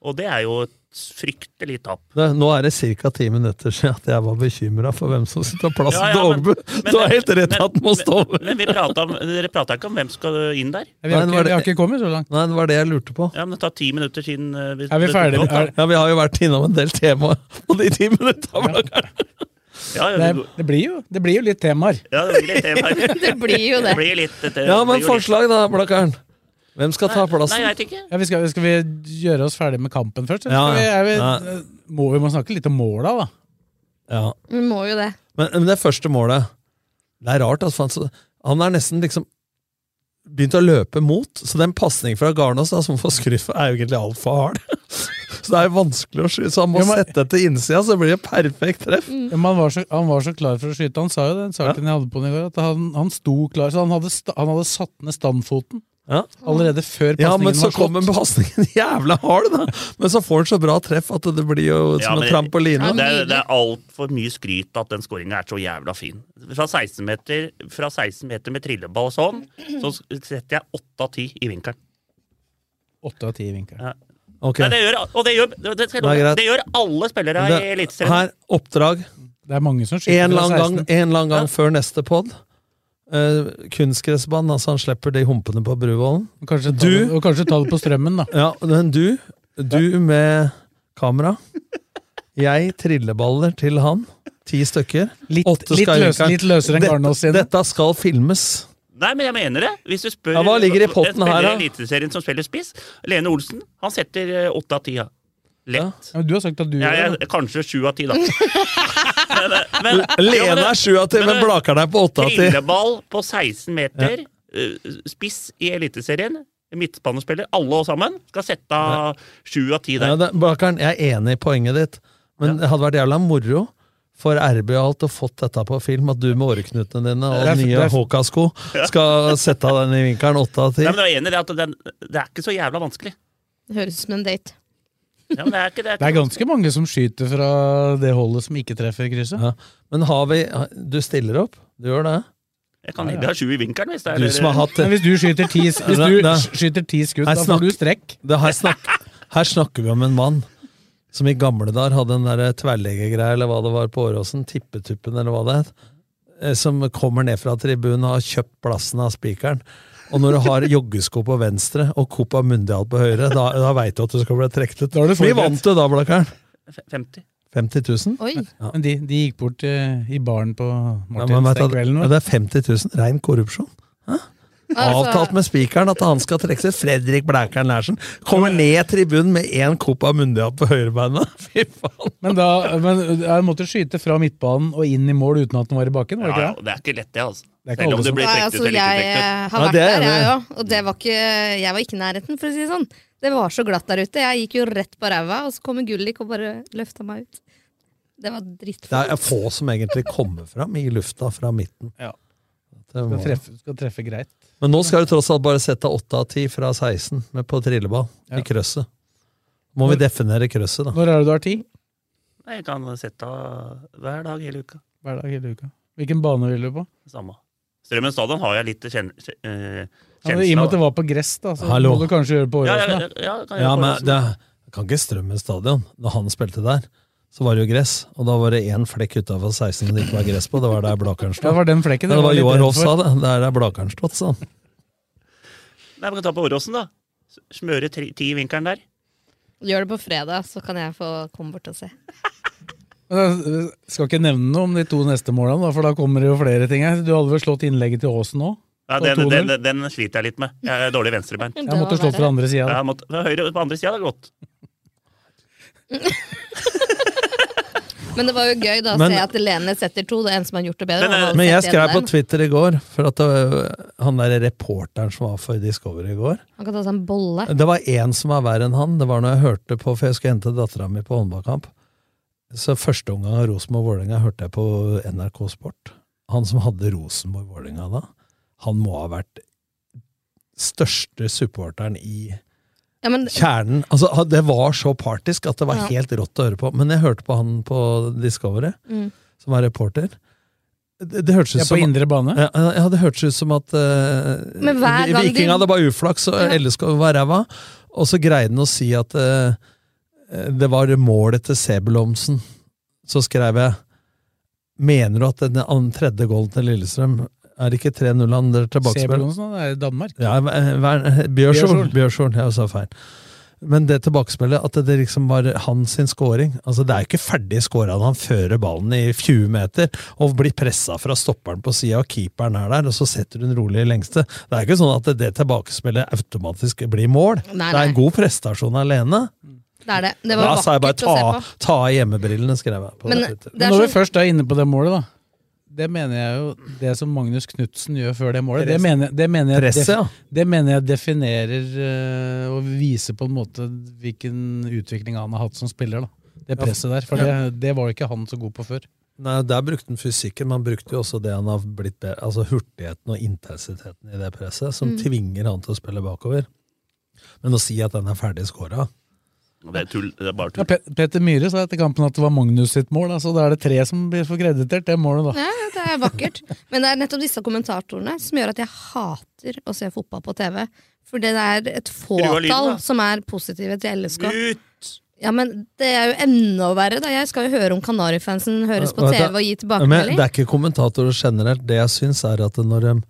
S3: og det er jo et fryktelig tap.
S5: Det, nå er det ca. ti minutter siden at jeg var bekymra for hvem som skulle ta plassen
S3: Ja, ja,
S5: til
S3: men-
S5: Ågbu.
S3: men-
S5: Du har helt rett i at den må stå over.
S3: Men vi pratet om, dere prata ikke om hvem skal inn der?
S4: Vi har,
S5: Nei, det
S4: ikke,
S5: var det-
S4: vi har ikke kommet så langt.
S5: Nei, det var det jeg lurte på.
S3: Ja, men Det tar ti minutter siden eh, vi,
S4: Er vi
S3: det tok
S4: ferdige?
S3: opp, da.
S4: Er,
S5: Ja, Vi har jo vært innom en del temaer [LAUGHS] på de ti minuttene.
S3: Ja, ja,
S4: det,
S3: vi-
S4: det, blir jo, det blir jo litt temaer.
S3: ja, det blir litt tema her.
S6: Det blir jo det.
S3: Det blir litt det
S5: Ja,
S3: blir jo
S5: men
S3: litt-
S5: forslag, da, Blakkaren. Hvem skal ta
S3: Nei,
S5: plassen?
S3: jeg vet ikke.
S4: Ja, vi skal, skal vi gjøre oss ferdig med kampen først? Eller
S5: Ja,
S4: skal vi, er vi,
S5: ja.
S4: Må, vi må snakke litt om måla, da.
S5: Ja.
S6: Vi må jo det.
S5: Men, men det første målet Det er rart, altså. for han så- Han er nesten liksom begynt å løpe mot, så den pasningen fra Garnås da, som får skryt for, er jo egentlig altfor hard. [LAUGHS] Så det er jo vanskelig å skyte, så han må
S4: Jo, men-
S5: sette til innsida, så blir det perfekt treff.
S4: Ja, men han, var så, han var så klar for å skyte. Han sa jo den saken jeg hadde på den i går, at han, han sto klar. Så han hadde, sta, han hadde satt ned standfoten
S5: Ja.
S4: allerede før
S5: Ja, men
S4: pasningen
S5: så
S4: var slått.
S5: kommer pasningen [LAUGHS] jævla hard, da! Men så får han så bra treff at det blir jo
S3: Ja,
S5: som
S3: men-
S5: en trampoline.
S3: Ja, det er, det er altfor mye skryt at den skåringa er så jævla fin. Fra 16 meter, fra 16 meter med trilleball og sånn, så setter jeg 8 av 10 i vinkelen.
S4: Åtte av ti i vinkelen.
S5: Ok.
S3: Nei, det gjør, og det gjør, det, skal jeg
S5: Det er
S3: love
S5: greit.
S3: deg, det gjør alle spillere her i
S5: Det-
S3: Eliteserien.
S5: Her, oppdrag.
S4: Det er mange som skyter
S5: En eller
S4: fra
S5: annen
S4: 16.
S5: gang, en eller annen gang før neste pod. Eh, kunstgressbanen, altså han slipper de humpene på Bruvollen.
S4: Og Kanskje ta,
S5: Du-
S4: det, og kanskje ta det på strømmen, da.
S5: Ja, men du, du med kamera. Jeg trilleballer til han. Ti stykker.
S4: Litt,
S5: Åtte
S4: litt,
S5: skal i
S4: løs,
S5: vinkelen.
S4: litt løsere enn
S5: Dette-
S4: Garnås sin.
S5: Dette skal filmes.
S3: Nei, men jeg mener det. Hvis du spør
S5: Ja, hva ligger i potten
S3: en spiller
S5: her, da?
S3: i Eliteserien som spiller spiss, Lene Olsen, han setter eh, 8 av 10. Ja. Lett.
S4: Ja, men du har sagt at du
S3: Ja,
S4: gjør det.
S3: jeg, kanskje 7 av
S5: [LAUGHS]
S3: 10, da. Men, eh, men- Ja, men-
S5: Lene er sju av ti,
S3: men-
S5: men Blakeren er på åtte av ti.
S3: Trilleball på 16 meter, eh, spiss i Eliteserien, midtbanespiller, alle sammen, skal sette av sju av ti
S5: Ja,
S3: der.
S5: det- Blakeren, jeg er enig i poenget ditt, Men det hadde vært jævla moro for RB og alt å fått dette på film, at du med åreknutene
S3: Det
S5: dine
S3: er-
S5: og
S3: det
S5: nye
S3: er-
S5: HK-sko skal sette av den i vinkelen åtte av ti.
S3: Nei, men jeg er enig i det at den, det er ikke så jævla vanskelig.
S6: Det høres ut som en date.
S3: Ja, men det er ikke det.
S4: [LAUGHS] Det er ganske mange som skyter fra det holdet som ikke treffer krysset.
S5: Men har vi Du stiller opp? Du gjør det?
S3: Jeg kan heller ha sju i vinkelen. hvis det er
S5: Du som har hatt
S4: Men hvis du skyter ti, hvis
S5: Nei,
S4: du
S5: nei.
S4: skyter ti skudd,
S5: Nei,
S4: da får du strekk.
S5: Det her, snakk, her snakker vi om en mann som i gamle dager hadde den der tverrleggergreia eller hva det var på Åråsen, tippetuppen eller hva det het, eh, som kommer ned fra tribunen og har kjøpt plassen av spikeren. Og når du har joggesko på venstre og Copa Mundial på høyre, da, da veit du at du skal bli trukket ut.
S4: du
S5: Vi
S4: forberedt.
S5: vant jo da, Blakkaren.
S3: F- 50.
S5: 50 000?
S4: Ja. Men de, de gikk bort eh, i baren på
S5: Ja, men
S4: Martins
S5: vet du
S4: den
S5: at-
S4: kvelden.
S5: ja, det er 50 000. Rein korrupsjon. Hæ?
S4: Altså-
S5: Avtalt med spikeren at han skal trekke seg. Fredrik Blækern Larsen kommer ned tribunen med én Copa Mundial på høyrebeinet. [LAUGHS] Fy faen.
S4: Men da men jeg måtte skyte fra midtbanen og inn i mål uten at den var i bakken? var det
S3: Ja, ja,
S4: ikke det?
S3: det er ikke lett, det, altså.
S4: Det er ikke
S3: Selv om
S4: alle
S3: det
S4: som-
S3: blir
S6: Nei,
S3: trukket
S6: altså,
S3: eller ikke
S6: jeg
S3: trukket.
S6: eh, har
S4: Ja,
S6: vært
S4: det er
S6: der, jeg
S4: det.
S6: òg. Og det var ikke, jeg var ikke i nærheten, for å si det sånn. Det var så glatt der ute. Jeg gikk jo rett på ræva, og så kommer Gullik og bare løfta meg ut. Det var dritt.
S5: Det er få som egentlig kommer fram i lufta fra midten. Det må-
S4: Skal treffe, skal treffe greit.
S5: Men nå skal du tross alt bare sette åtte av ti fra 16 med på trilleball i krøsset. Må vi definere krøsset, da.
S4: Når er det du har tid?
S3: Nei, Jeg kan sette av hver dag hele uka.
S4: Hver dag hele uka. Hvilken bane vil du på?
S3: Samme. Strømmen stadion har jeg litt kjen kjen eh,
S4: Ja, men I
S3: kjensle
S4: og med at det
S3: av.
S4: var på gress, da, så
S5: Hallo.
S4: må du kanskje gjøre det på
S3: Ja, ja,
S4: Åråsen.
S3: ja, ja, kan jeg
S5: Ja,
S3: gjøre på
S5: men
S3: Åråsen.
S5: det kan ikke Strømmen stadion. Når han spilte der, så var det jo gress. Og da var det én flekk utafor 16 som det ikke var gress på. Det var der Blakeren stod.
S4: Ja, det var den flekken
S5: Ja,
S4: jeg var
S5: det var
S4: litt
S5: Joar
S4: redd
S5: Hoff
S4: for.
S5: sa det. Det er der Blakeren stått, sa han.
S3: Nei, vi kan ta på Åråsen, da. S- Smøre tri- ti i vinkelen der.
S6: Gjør det på fredag, så kan jeg få komme bort og se.
S4: Men jeg Skal ikke nevne noe om de to neste målene, da, for da kommer det jo flere ting her. Du hadde vel slått innlegget til Aasen òg?
S3: Ja, den, den, den sliter jeg litt med. Jeg er dårlig venstrebein.
S4: Jeg Det måtte var slå verre. fra andre siden, da.
S3: Ja, jeg måtte- fra høyre på andre sida hadde gått.
S6: Men det var jo gøy da å
S5: Men-
S6: se at Lene setter to. Det er en som har gjort det bedre.
S3: eh,
S6: han har
S5: Men jeg
S6: sett
S5: skrev på
S6: igjen der.
S5: Twitter i går, for at øh, han der reporteren som var for Discovery i går
S6: Han kan ta seg en bolle.
S5: Det var én som var verre enn han. Det var når jeg hørte på, for jeg skulle hente dattera mi på håndballkamp. Så første omgang av Rosenborg-Vålerenga hørte jeg på NRK Sport. Han som hadde Rosenborg-Vålerenga da, han må ha vært største supporteren i
S6: Ja, men,
S5: kjernen. Altså, han- det var så partisk at det var
S6: Ja.
S5: helt rått å høre på. Men jeg hørte på han på Discovery,
S6: Mm.
S5: som var reporter. Det, det hørtes ut
S4: Ja, på
S5: som
S4: indre bane?
S5: Ja, ja, det hørtes ut som at eh,
S4: Men hver gang de-
S5: Viking hadde bare uflaks, og LSK var ræva. Og så greide han å si at eh, det var målet til Sebulomsen. Så skrev jeg Mener du at den an- tredje golden til Lillestrøm er det ikke 3-0 han dere tilbakespill?
S4: Sebulonsen han er i Danmark.
S5: Ja, Ver- Ver- Bjørshorn.
S4: Bjørshorn.
S5: Bjørshorn, jeg sa feil. Men det tilbakespillet, at det liksom var hans sin scoring altså Det er jo ikke ferdig scora når han fører ballen i 20 meter og blir pressa fra stopperen på sida, og keeperen er der, og så setter hun rolig i lengste. Det er ikke sånn at det tilbakespillet automatisk blir mål.
S6: Nei,
S5: Det
S6: nei.
S5: er en god prestasjon alene.
S6: Det er det. Det
S5: da
S6: var
S5: sa jeg bare
S6: vakkert å
S5: ta,
S6: se på.
S5: ta av hjemmebrillene, skrev jeg. På
S6: Men
S5: Twitter.
S6: det er sånn-
S4: Når
S6: så-
S4: vi først er inne på det målet, da. Det mener jeg jo Det som Magnus Knutsen gjør før det målet, det
S5: Press.
S4: mener, jeg- det mener, jeg,
S5: Presset, ja.
S4: det mener jeg definerer eh, og viser på en måte hvilken utvikling han har hatt som spiller. da Det
S5: Ja.
S4: presset der. For
S5: Ja.
S4: det, det var jo ikke han så god på før.
S5: Nei, Der brukte han fysikken, men han brukte jo også det han har blitt bedre, altså hurtigheten og intensiteten i det presset, som
S4: Mm.
S5: tvinger han til å spille bakover. Men å si at den er ferdig scora
S3: Det er tull. Det er bare
S4: Ja,
S3: tull.
S4: Pe- Petter Myhre sa etter kampen at det var Magnus sitt mål, da, så da er det tre som blir forkreditert det målet, da.
S6: Ja, ja, det er vakkert. Men det er nettopp disse kommentatorene som gjør at jeg hater å se fotball på TV. For det er et
S3: Skru av lyden,
S6: fåtall
S3: da.
S6: som er positive til LSK.
S3: Gutt!
S6: Ja, men det er jo enda verre, da. Jeg skal jo høre om Kanarifansen høres på TV og gi tilbakemelding.
S5: Men det er ikke kommentatorer generelt. Det jeg syns, er at når de,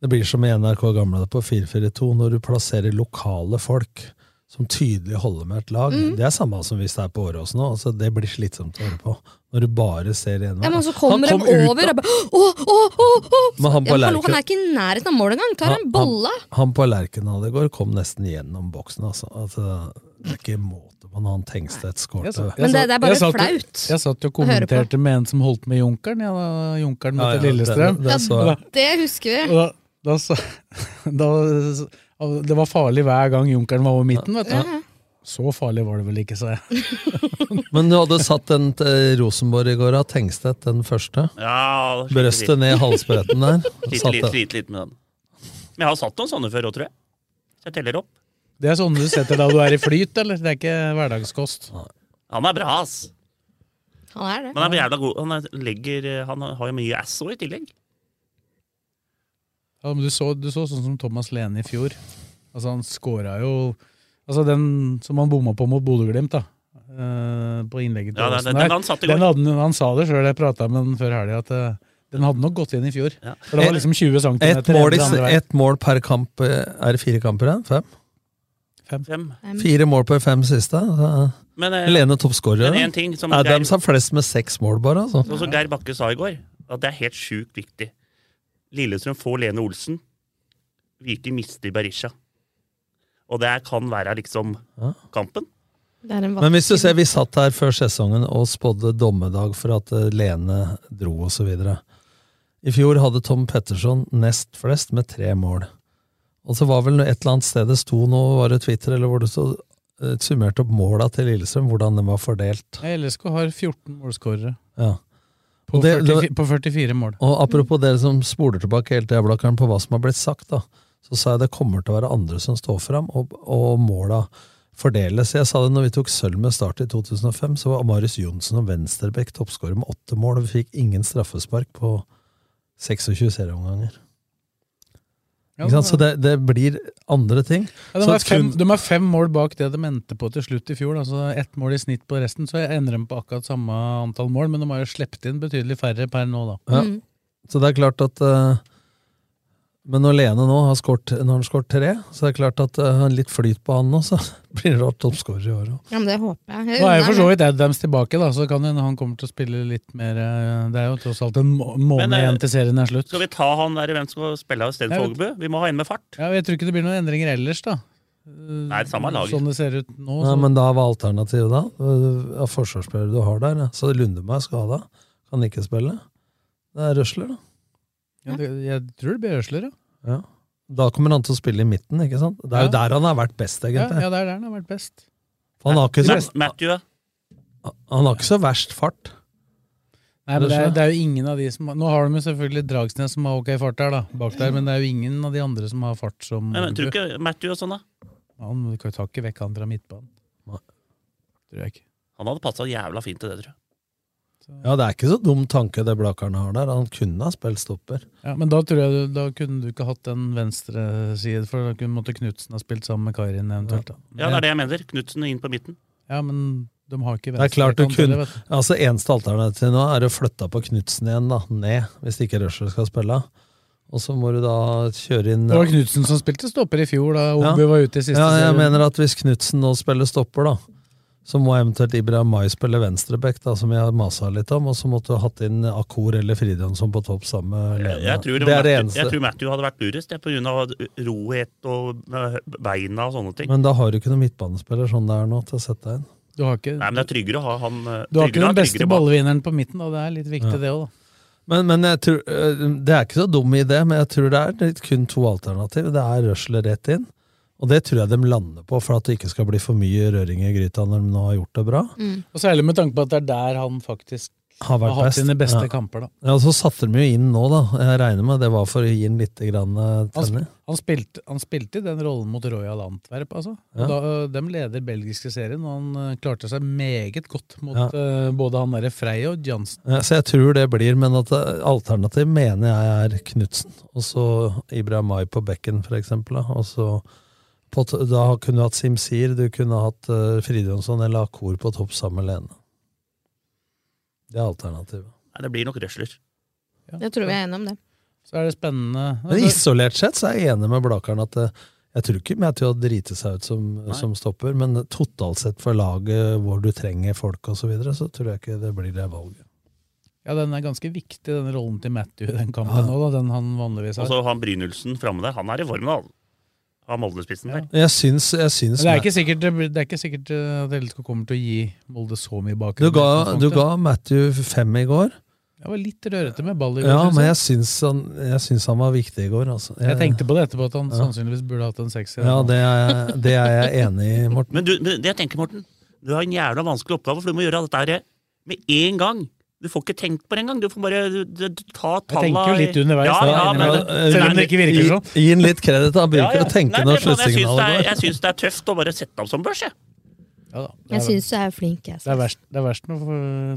S5: det blir som i NRK gamle på 442, når du plasserer lokale folk som tydelig holder med et lag.
S6: Mm.
S5: Det er samme som hvis det er på Åråsen òg. Altså, det blir slitsomt å høre på. Når du bare ser igjen.
S6: Ja, men så kommer
S5: Han
S6: de
S5: kom ut
S6: over og bare Å, å, å! å.
S5: Men han på
S6: Ja, men hallo,
S5: Lerche-
S6: han er ikke i nærheten av mål engang! Tar en bolle!
S5: Han, han på Lerkendal i går kom nesten gjennom boksen, altså. altså det er ikke måte på når han Tengstedt
S4: Jeg
S5: skårte.
S4: satt- jeg satt jo- Jeg satt jo og
S6: å høre på.
S4: kommenterte med en som holdt med Junkeren. Ja, da, junkeren
S5: Ja,
S4: møtte
S5: ja,
S4: Lillestrøm.
S5: det- det så jeg.
S4: Da-
S6: Det husker
S4: og
S6: vi.
S4: da, [LAUGHS] da, sa- da, det var farlig hver gang Junkeren var over midten, vet du.
S6: Ja.
S4: Så farlig var det vel ikke, sa jeg.
S5: Men du hadde satt den til Rosenborg i går, av Tengstedt, den første.
S3: Ja, sliter litt.
S5: Brøstet ned halsbretten
S3: [LAUGHS]
S5: der.
S3: Sliter
S5: Satt
S3: litt,
S5: den.
S3: sliter litt med den. Men jeg har satt noen sånne før òg, tror jeg. Så jeg teller opp.
S4: Det er sånne du setter da du er i flyt, eller? Det er ikke hverdagskost.
S3: Han er bra, ass.
S6: Han er det.
S3: Men han er jævla god. Han, er, legger, eh, han har jo mye ass òg, i tillegg.
S4: Ja, men du, så, du så sånn som Thomas Lene i fjor. Altså, han scora jo Altså, den som han bomma på mot Bodø-Glimt, da. eh, på innlegget til
S3: Ja, den-
S4: Åsen
S3: den-
S4: der.
S3: den han satt i går.
S4: den hadde, han sa det sjøl, jeg prata med han før helga, at eh, den hadde nok gått inn i fjor. For det var liksom 20 cm
S5: Ett mål, i- ett mål per kamp. eh, Er det fire kamper igjen? Fem?
S3: Fem.
S5: Fire mål på fem siste. da-
S3: Men, eh,
S5: Lene toppskårer.
S3: men
S5: da.
S3: en ting som
S5: Nei,
S3: Geir-
S5: dem som har flest med seks mål, bare. altså.
S3: Og som Geir Bakke sa i går, at det er helt sjukt viktig. Lillestrøm får Lene Olsen. Viking mister Berisha. Og det kan være liksom kampen.
S6: Det er en
S5: Men hvis du
S6: vakker-
S5: ser, vi satt her før sesongen og spådde dommedag for at eh, Lene dro og så videre. I fjor hadde Tom Petterson nest flest med tre mål. Og så var vel et eller annet sted det sto nå, var det Twitter, eller hvor det så eh, summerte opp måla til Lillestrøm, hvordan den var fordelt.
S4: LSK har 14 målskårere.
S5: Ja.
S4: På
S5: Og det-
S4: 44 på 44 mål.
S5: Og apropos dere som spoler tilbake hele tida, Blakkaren, på hva som har blitt sagt, da, så sa jeg det kommer til å være andre som står fram, og, og måla fordeles. Jeg sa det når vi tok sølv med start i 2005, så var Marius Johnsen og Venstrebekk toppskårer med åtte mål, og vi fikk ingen straffespark på 26 serieomganger.
S4: Ja,
S5: Ikke sant? Så det, det blir andre ting.
S4: Ja, de,
S5: Så
S4: er fem,
S5: kun-
S4: de er fem mål bak det de endte på til slutt i fjor. Altså ett mål i snitt på resten, så jeg endrer dem på akkurat samme antall mål, men de har jo sluppet inn betydelig færre per nå, da.
S5: Ja. Så det er klart at eh, Men når Lene nå har skårt, når han skåret tre, så er det klart at eh, han litt flyt på han nå, så [LAUGHS] blir det rart toppskårer i år òg.
S6: Ja, men det håper jeg. jeg.
S4: Nå er
S6: unner
S4: jo for så
S6: ham det.
S4: vidt Adams tilbake, da, så kan hende han kommer til å spille litt mer eh, Det er jo tross alt en må- måned
S3: Men, eh,
S4: igjen til serien er slutt.
S3: Skal vi ta han der hvem som skal spille av stedet
S4: Jeg
S3: for
S4: vet-
S3: Ågebu? Vi må ha en med fart.
S4: Ja, jeg tror ikke det blir noen endringer ellers, da.
S3: Nei, det samme laget.
S4: Sånn det ser ut nå.
S5: Nei,
S4: så-
S5: men da var alternativet da? eh, Av forsvarsspillere du har der, ja. så Lundeberg skada. Kan ikke spille. Det er Røsler, da.
S4: ja, det, jeg tror det blir Øsler, ja.
S5: Ja. Da kommer han til å spille i midten, ikke sant? Det er jo
S4: Ja.
S5: der han har vært best,
S4: ja.
S5: egentlig.
S4: Ja, det er der han har vært best.
S5: Han, har ikke
S3: Matt,
S5: så,
S3: Matthew, ja.
S5: han har ikke så verst fart.
S4: Nei, men det er,
S5: Røsler.
S4: det er jo ingen av de som har- Nå har de jo selvfølgelig Dragsnes som har ok fart der, da, bak der, men det er jo ingen av de andre som har fart som
S3: Nei, men tror du ikke Matthew og sånn, da?
S4: Han du kan jo ta ikke vekk han fra midtbanen. Tror jeg ikke.
S3: Han hadde passa jævla fint til det, tror jeg.
S5: Ja, det er ikke så dum tanke det Blakkaren har der. Han kunne ha spilt stopper.
S4: Ja, men da tror jeg du, da kunne du ikke hatt den venstresiden, for da kunne- måtte Knutsen ha spilt sammen med Kairin eventuelt. Da.
S3: Ja, det er det jeg mener. Knutsen inn på midten.
S4: Ja, men de har ikke
S5: Det er klart du
S4: venstrekant heller,
S5: kunne
S4: vet du.
S5: Altså Eneste alternativ nå er å flytte på Knutsen igjen, da, ned, hvis ikke Røsler skal spille. Og så må du da kjøre inn
S4: Det var Knutsen som spilte stopper i fjor, da Obu var ute i siste
S5: ja, jeg
S4: serien.
S5: mener at hvis Knutsen nå spiller stopper, da, så må eventuelt Ibrahim Mai spille venstreback, da, som jeg har masa litt om, og så måtte du hatt inn Akur eller Fridjonsson på topp sammen med Lene.
S3: Jeg tror,
S5: det er det
S3: Matthew,
S5: eneste.
S3: jeg tror Matthew hadde vært lurest, det, på grunn av rohet og eh, beina og sånne ting.
S5: Men da har du ikke noen midtbanespiller sånn det er nå, til å sette deg inn.
S4: Du har ikke,
S3: Nei, men det er tryggere å ha han eh,
S4: du har
S3: tryggere
S4: ikke
S3: å ha
S4: den beste
S3: tryggere bak.
S4: ballvinneren på midten, da. Det er litt viktig,
S5: Ja.
S4: det òg, da.
S5: Men, men jeg tror, øh, det er ikke så dum idé, men jeg tror det er litt kun to alternativ. Det er røsler rett inn, og det tror jeg de lander på, for at det ikke skal bli for mye røring i gryta når de nå har gjort det bra.
S4: Og særlig med tanke på at det er der han faktisk
S5: Har vært
S4: Mm. hatt
S5: best,
S4: sine beste
S5: ja.
S4: kamper, da.
S5: Ja, og Så satte de jo inn nå, da. Jeg regner med det var for å gi den litt grann, eh,
S4: Han,
S5: tenning.
S4: sp- han, spilte, han spilte i den rollen mot Royal Antwerp, altså.
S5: Ja.
S4: Da, ø, de leder belgiske serien, og han ø, klarte seg meget godt mot
S5: Ja.
S4: ø, både han derre Frey og Jansen.
S5: Ja, Så jeg tror det blir, men at eh, alternativ mener jeg er Knutsen. Og så Ibrahimai på bekken, for eksempel. da. Og så på, t- da kunne du hatt Simsir, du kunne hatt uh, Fridjonsson eller Akor på topp sammen med Lene. Det er alternativet.
S3: Nei, det blir nok røsler.
S6: Jeg tror vi er enige om det.
S4: Så er det spennende
S5: Men isolert sett så er jeg enig med Blakkaren at eh, jeg tror ikke Matthew har driti seg ut som, som stopper, men totalt sett for laget hvor du trenger folk og så videre, så tror jeg ikke det blir det valget.
S4: Ja, den er ganske viktig, den rollen til Matthew i den kampen nå, da. Den han vanligvis
S3: Og
S4: har.
S5: Altså,
S3: så han Brynildsen framme der, han er i form, da. Han Molde-spissen der.
S5: Jeg syns, jeg
S4: Men
S5: syns
S4: det er ikke sikkert, det blir- det er ikke sikkert øh, ø, at LSK kommer til å gi Molde så mye bakgrunn.
S5: Du
S4: i
S5: ga,
S4: utgangspunktet.
S5: du ga Matthew fem i går.
S4: Jeg var litt rørete med ball i går.
S5: Ja,
S4: synes
S5: men
S4: jeg.
S5: jeg syns han, jeg syns han var viktig i går. Altså.
S4: Jeg tenkte på det etterpå, at han
S5: Ja.
S4: sannsynligvis burde hatt en sekser.
S5: Ja, det er, jeg- det er jeg enig i, Morten.
S3: Men, du, men det jeg tenker, Morten, du har en jævla vanskelig oppgave, for du må gjøre dette her med en gang. Du får ikke tenkt på det engang. Du får bare du, du, du, ta talla
S4: tenker jo litt
S3: i-
S4: underveis,
S3: Ja,
S4: da,
S3: ja, men,
S4: innimellom. Selv om det ikke virker sånn.
S5: Gi, gi han litt kreditt, han
S3: Ja,
S5: bruker
S3: ja.
S5: å tenke
S3: Nei,
S5: når
S3: det er sånn, jeg syns det er-
S5: sluttsignalet
S3: Jeg
S5: går.
S3: syns det er tøft å bare sette ham som børs, jeg.
S6: Jeg syns du er flink. Jeg.
S4: Det er verst, det er verst når,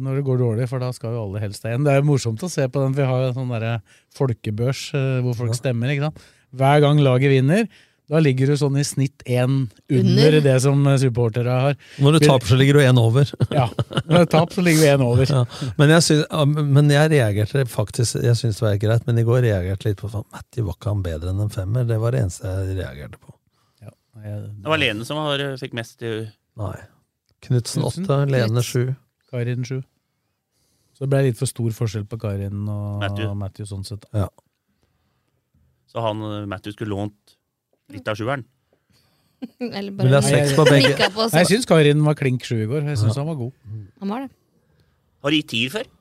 S4: når det går dårlig, for da skal jo alle helst deg igjen. Det er jo morsomt å se på den, for vi har jo en sånn derre folkebørs eh, hvor folk stemmer. ikke sant? Hver gang laget vinner, da ligger du sånn i snitt én under
S5: Under.
S4: det som eh, supportere har.
S5: Når du
S4: Vil-
S5: taper, så ligger du én over.
S4: Ja, når det er tap, så ligger vi én over.
S5: Ja. Men, jeg syns- ja, men jeg reagerte faktisk Jeg syns det var greit, men i går reagerte jeg litt på faen, Matti, var ikke han bedre enn en femmer? Det var det eneste jeg reagerte på.
S3: Det var Lene som var, fikk mest i
S5: Nei. Knutsen åtte, Lene sju.
S4: Karin sju. Så det ble litt for stor forskjell på Karin og
S3: Matthew.
S4: Matthew, sånn sett.
S5: Ja.
S3: Så han eh, Matthew skulle lånt litt av sjueren.
S6: Eller
S4: Men det
S6: bare
S4: er
S6: [LAUGHS]
S4: seks på
S3: begge.
S6: nikka på oss.
S4: Nei, Jeg syns Karin var klink sju i går. Jeg syns han var god.
S6: Han var det.
S3: Har du gitt tier før?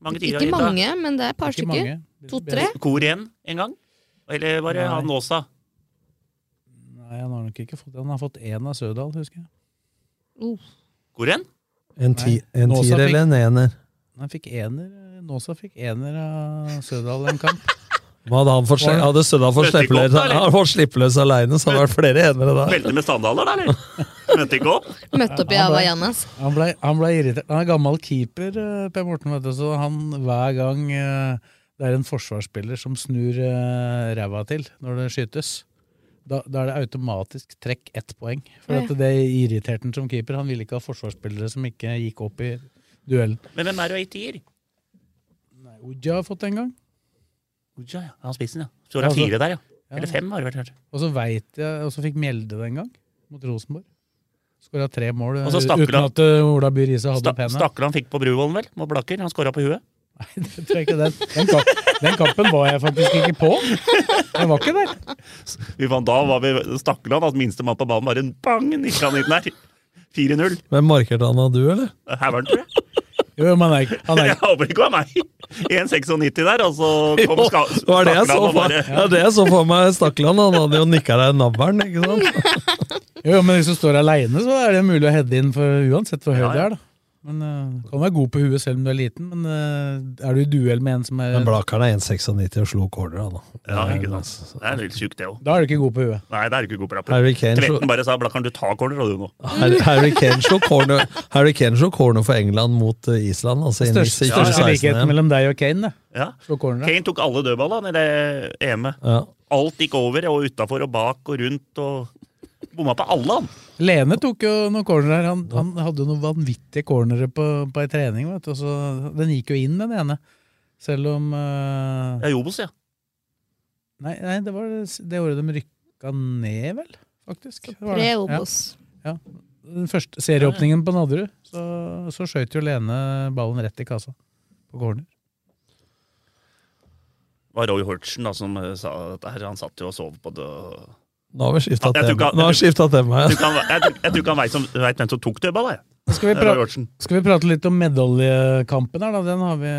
S3: Mange tier
S6: Ikke
S3: har gitt, da.
S6: mange, men det er et par
S4: Ikke
S6: stykker.
S4: mange.
S6: To-tre.
S3: Kor igjen en gang? Eller var det
S4: Nei.
S3: han Åsa?
S4: Nei, han har nok ikke fått Han har fått én av Sødal, husker jeg.
S3: Kor igjen?
S5: En, ti,
S4: Nei,
S5: en
S4: Nåsa
S5: tier
S4: fikk-
S5: eller en ener?
S4: Han fikk ener. Nåsa fikk ener av Sødal en
S3: [LAUGHS]
S4: kamp.
S5: Hva Hadde, han fått sli-
S4: Var-
S5: hadde Sødal fått
S4: Møtte ikke
S5: slippe
S4: opp,
S5: løs,
S4: da, eller?
S5: han fått slippe løs alene, så hadde det vært flere enere da.
S3: Meldte med standarder, da, eller? Møtte ikke opp?
S6: Møtte opp i
S4: Han ble-
S6: Havaianas.
S4: Han ble, han ble irritert. Han er gammel keeper, eh, Per Morten, vet du, så han hver gang eh, det er en forsvarsspiller som snur eh, ræva til når det skytes, da, da er det automatisk trekk ett poeng. For
S3: Ja.
S4: at det irriterte han som keeper. Han ville ikke ha forsvarsspillere som ikke gikk opp i duellen.
S3: Men hvem er det du har gitt tier?
S4: Oja har fått det en gang.
S3: Oja, ja. Han spissen, ja. Så var det fire der, ja. Eller fem har det vært. kanskje.
S4: Og så vet jeg, og så fikk Mjelde det en gang, mot Rosenborg. Skåra tre mål
S3: Og så
S4: eh,
S3: stakkar
S4: uten
S3: han.
S4: at eh, Ola By Riise hadde
S3: Sta-
S4: penna. [LAUGHS]
S3: Stakkar han fikk på Bruvollen, vel? Mot Blakker. Han skåra på huet.
S4: Jeg tror ikke Den, den, kamp, den kampen var jeg faktisk ikke på. Jeg var ikke der.
S3: Vi fant, da var vi Stakkar han, altså minste mann på banen, bare en bang! Nikka han inn der. 4-0.
S5: Men markerte han av du, eller?
S3: Hæveren, tror jeg.
S4: Jo, men han er, ikke- han er,
S3: Jeg håper ikke det var meg. 1,96 der, og så kom
S5: Jo,
S3: ska,
S5: det var det jeg så
S3: Stakkeland og
S5: for,
S3: bare
S5: ja, det jeg så for meg, Stakkeland. Han hadde jo nikka deg i navlen, ikke sant?
S4: jo, jo, men hvis du står aleine, så er det mulig å heade inn for, uansett hvor høy
S3: Ja,
S4: du
S3: ja.
S4: er. da. Men eh, Kan være god på huet selv om du er liten, men eh, er du i duell med en som er
S5: Men Blakeren er 1,96 og slo corner, han da.
S3: Ja, ikke sant. Det er litt sjukt, det òg.
S4: Da er du ikke god på huet.
S3: Nei, det er du ikke god på.
S5: Harry Kane slo-
S3: Tvetten bare sa 'Blakkaren, du tar corner', og du nå.
S5: Harry, Harry Kane slo corner, Harry Kane slo corner for England mot eh, Island, altså inn i
S4: Største,
S5: siste
S4: største
S5: 16
S4: likheten
S5: igjen.
S4: mellom deg og Kane, det.
S3: Ja.
S4: Slå corneret.
S3: Kane tok alle dødballene i det EM-et.
S5: Ja.
S3: Alt gikk over og utafor og bak og rundt og bomma på alle, han.
S4: Lene tok jo noen cornerer. Han, han hadde jo noen vanvittige cornere på, på ei trening. Vet du. og så- den gikk jo inn, den ene. Selv om eh,
S3: Ja, Jobos, ja.
S4: Nei, nei det var det året de rykka ned, vel? Faktisk. Det var det.
S6: Tre Obos.
S4: Ja. ja. Den første serieåpningen på Nadderud, så, så skjøt jo Lene ballen rett i kassa. På corner.
S3: Det var Roy Hortsen da, som eh, sa at her, han satt jo og sov på det. og-
S5: Nå har vi skifta
S3: Jeg tror ikke
S5: tema.
S3: han-
S5: Nå har vi skiftet tema
S3: Jeg
S5: igjen.
S3: tror ikke han- jeg- jeg tror ikke han veit som- vet hvem som tok dødball, jeg.
S4: Skal vi,
S3: Det er Roy
S4: pra
S3: Hortsen.
S4: skal vi prate litt om medaljekampen her, da? Den har vi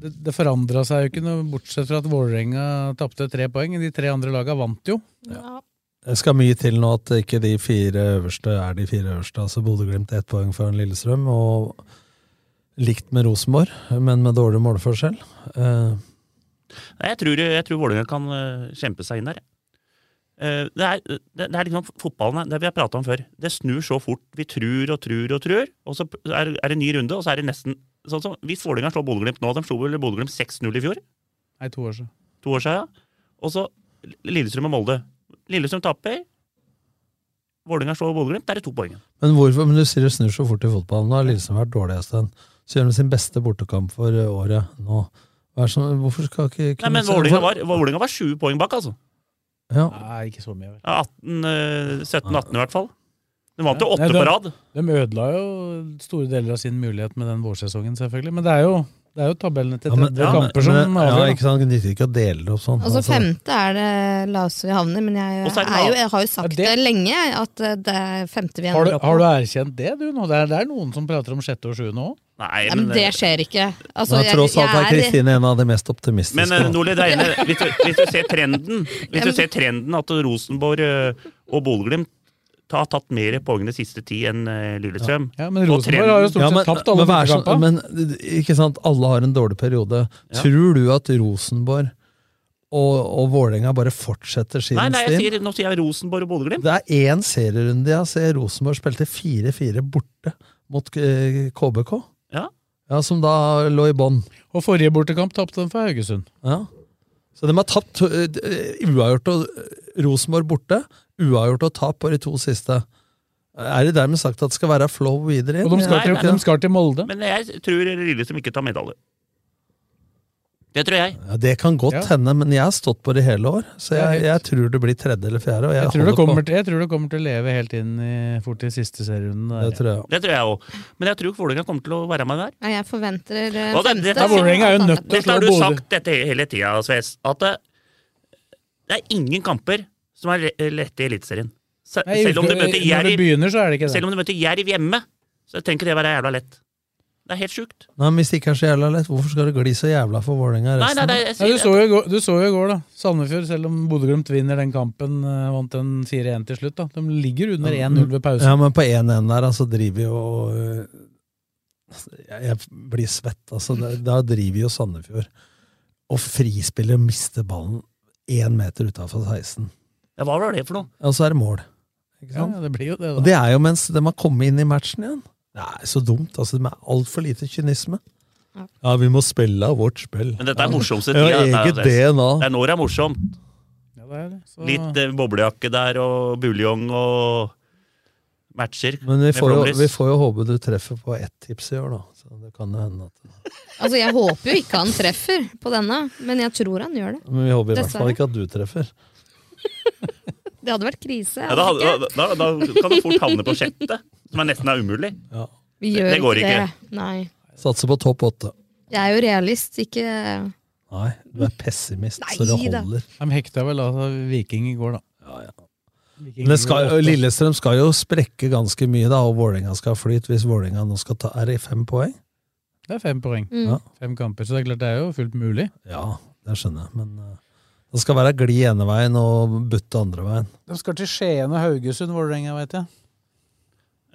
S4: Det, det forandra seg jo ikke noe, bortsett fra at Vålerenga tapte tre poeng. De tre andre laga vant jo.
S5: Det skal mye til nå at ikke de fire øverste er de fire øverste. Altså Bodø-Glimt ett poeng foran Lillestrøm, og likt med Rosenborg, men med dårlig målforskjell. Eh,
S3: Nei, Jeg tror, jeg tror Vålerenga kan eh, kjempe seg inn der. jeg. Eh, Det er, det, det er liksom fotballen, det vi har prata om før. Det snur så fort. Vi tror og tror og tror, og så er, er det en ny runde, og så er det nesten sånn som Hvis Vålerenga slår Bodø-Glimt nå, de slo vel Bodø-Glimt 6-0 i fjor?
S4: Nei, to år siden.
S3: to år siden. ja. Og så Lillestrøm og Molde. Lillestrøm taper. Vålerenga slår Bodø-Glimt. Der er det to poeng.
S5: Men hvorfor, men du sier det snur så fort i fotballen. Nå har Lillestrøm vært dårlig en stund. Så gjør de sin beste bortekamp for eh, året nå. Hva er det som, hvorfor skal ikke
S3: Nei, men Vålerenga var, Vålerenga var sju poeng bak, altså.
S5: ja.
S4: Nei, ikke så mye, vel.
S3: Ja, 18, eh, 17-18 i hvert fall. De vant jo
S4: Nei,
S3: åtte
S4: de-
S3: på rad.
S4: De ødela jo store deler av sin mulighet med den vårsesongen, selvfølgelig. Men det er jo Det er jo tabellene til
S5: Ja, men-
S4: 30
S5: ja, men-
S4: kamper som eh,
S5: men-
S4: avgjør.
S5: ja,
S4: da.
S5: ikke sant? Det nytter ikke å dele det opp sånn.
S6: Og så
S5: Altså,
S6: femte er det laveste vi havner, men jeg,
S4: Og så er det
S6: er jo,
S4: lav-
S6: jeg har jo sagt det, lenge, at eh, det er femte vi
S4: Har du,
S6: ender opp
S4: har du
S6: på.
S4: erkjent det, du? nå? Det er, det er noen som prater om sjette og sjuende òg.
S6: Nei, men det skjer ikke. Altså,
S5: men tross alt er
S6: jeg
S5: Kristine en av de mest optimistiske.
S3: Men eh, Nordli, det er ene- hvis, du- hvis du ser trenden Hvis
S6: men-
S3: du ser trenden at Rosenborg eh, og Bodø-Glimt har tatt mer poeng de siste ti enn eh, Lillestrøm.
S4: Ja, men
S3: Og
S4: Rosenborg
S3: trenden-
S4: har jo stort
S5: Ja, men,
S4: sett tapt alle
S5: men, vær så-
S4: bortekampene.
S5: men ikke sant, alle har en dårlig periode.
S3: Ja.
S5: Tror du at Rosenborg og, og Vålerenga bare fortsetter sin
S3: Nei, nei, jeg
S5: stil?
S3: sier, nå sier jeg Rosenborg og Bodø-Glimt.
S5: Det er én serierunde jeg ser Rosenborg spilte 4-4 borte mot eh, KBK.
S3: Ja.
S5: Ja, Som da lå i bånn.
S4: Og forrige bortekamp tapte de for Haugesund.
S5: Ja. Så de har tapt eh, uavgjort og eh, Rosenborg borte. Uavgjort og tap på de to siste. Er det dermed sagt at det skal være flow videre? inn?
S4: Og de skal,
S5: Nei,
S4: til,
S5: det er ikke
S4: de skal til Molde.
S3: Men jeg tror Lillestrøm ikke tar medalje. Det tror jeg.
S5: Ja, det kan godt
S3: Ja.
S5: hende, men jeg har stått på det hele år. Så
S4: Det er
S5: jeg,
S4: helt-
S5: jeg tror det blir tredje eller fjerde. Og jeg,
S4: Jeg tror, det
S5: holder
S4: kommer
S5: på.
S4: til, jeg tror det kommer til å leve helt inn i, fort til siste serierunden.
S5: Det tror jeg.
S3: Det tror jeg òg. Men jeg tror ikke Vålerenga kommer til å være med der.
S6: Nei, jeg forventer eh,
S3: Og det-
S6: femte.
S3: dette-
S6: Dette
S3: Dette har
S6: er
S3: du
S6: du
S3: sagt dette hele tida, Sves. At det, det er ingen kamper som er le- lette i Eliteserien. Se-
S4: Nei,
S3: Selv om du
S4: når
S3: møter
S4: det begynner,
S3: Jerv
S4: så er det ikke det.
S3: Selv om du møter Jerv hjemme, så trenger ikke det være jævla lett. Det er helt sjukt.
S5: Nei, men Hvis det ikke er så jævla lett, hvorfor skal det gli så jævla for
S3: Nei,
S5: Vålerenga resten?
S3: nei, nei, jeg
S5: av-
S4: Ja,
S3: sier
S4: du, så jo, i går- du så jo i går, da. Sandefjord, selv om Bodø-Glimt vinner den kampen, eh, vant den 4-1 til slutt. da. De ligger under 1-0 ved pausen.
S5: Ja, men på 1-1 der, altså, driver jo øh, jeg, jeg blir svett, altså. Da, da driver jo Sandefjord og frispiller og mister ballen én meter utafor 16.
S3: Ja, hva var det for noe?
S5: Og så er det mål. Ikke
S4: Ja,
S5: sant?
S4: det blir jo det, da.
S5: Og det er jo mens de har kommet inn i matchen igjen. Det er så dumt. altså De er altfor lite kynisme. Ja, vi må spille av vårt spill.
S3: Men dette er morsomste tida.
S5: Ja, eget
S3: det, er-
S5: DNA.
S3: det er nå det er morsomt.
S4: Så-
S3: Litt eh, boblejakke der og buljong og matcher.
S5: Men vi
S3: med
S5: får, jo,
S3: Flomlys.
S5: vi får jo håpe du treffer på ett tips i år, da. Så det kan jo hende at
S6: Altså, jeg håper jo ikke han treffer på denne, men jeg tror han gjør det.
S5: Men vi håper i hvert
S6: Dessverre.
S5: fall ikke at du treffer.
S6: Det hadde vært krise.
S3: ja, da,
S6: hadde det
S3: hadde- da, da, da kan du fort havne på sjette, som er nesten er umulig.
S6: ikke? Vi gjør
S3: det går
S6: ikke
S3: ikke.
S6: det. Nei.
S5: Satser på topp åtte.
S6: Jeg er jo realist, ikke
S5: Nei, du er pessimist, så det
S6: Nei da.
S5: holder.
S4: De hekta vel altså Viking i går, da. Viking
S5: Men det skal,
S4: gjorde åtte.
S5: Lillestrøm skal jo sprekke ganske mye, da, og Vålerenga skal flyte hvis Vålerenga nå skal ta Er det fem poeng?
S4: Det er fem poeng.
S5: Mm. Ja.
S4: Fem kamper, så det er klart det er jo fullt mulig.
S5: Ja, det skjønner jeg, men eh, det skal være gli ene veien og butte andre veien.
S4: De skal til Skien og Haugesund, Vålerenga, vet jeg.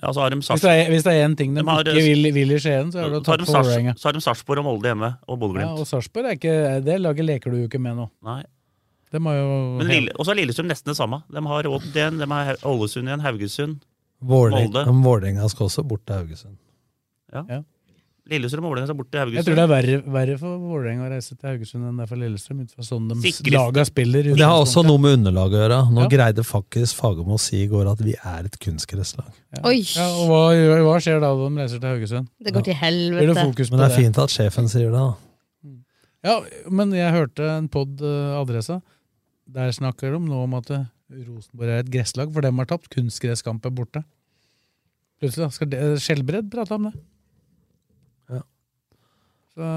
S3: Ja, så har de
S4: Hvis det er- hvis det er én ting de,
S3: De har-
S4: ikke vil, vil i Skien, så er det å
S3: Så har
S4: tape
S3: de
S4: for
S3: Sars-
S4: Vålerenga.
S3: så har de Sarpsborg og Molde hjemme, og
S4: Ja,
S3: Bodø-Glimt.
S4: og Sarpsborg er ikke Det laget leker du jo ikke med nå.
S3: Nei.
S4: De har jo
S3: Men Lille- Og så er Lillestrøm nesten det samme. De har Odd igjen, de har Hau- Ålesund igjen, Haugesund,
S5: Vålerenga
S3: Molde.
S5: men Vålerenga skal også bort til Haugesund.
S3: Ja. Lillestrøm og Vålerenga skal bort til Haugesund.
S4: Jeg tror det er verre, verre for Vålerenga å reise til Haugesund enn det er for Lillestrøm. Ut fra sånn de
S3: Sikrest.
S4: laga spiller.
S5: Det har også noe med underlaget å gjøre. Nå
S4: Ja.
S5: greide faktisk Fagermo å si i går at vi er et kunstgresslag.
S6: Oi!
S4: Ja, og hva, gjør- hva skjer da når de reiser til Haugesund?
S6: Det går til
S4: Blir det
S6: helvete.
S4: fokus på
S5: Men det er fint at sjefen sier det, da.
S4: Ja, men jeg hørte en pod adressa. Der snakker de nå om at eh, Rosenborg er et gresslag, for dem har tapt kunstgresskamper borte. Plutselig da, skal det, eh, Skjelbred prate om det.
S5: Ja.
S4: Så,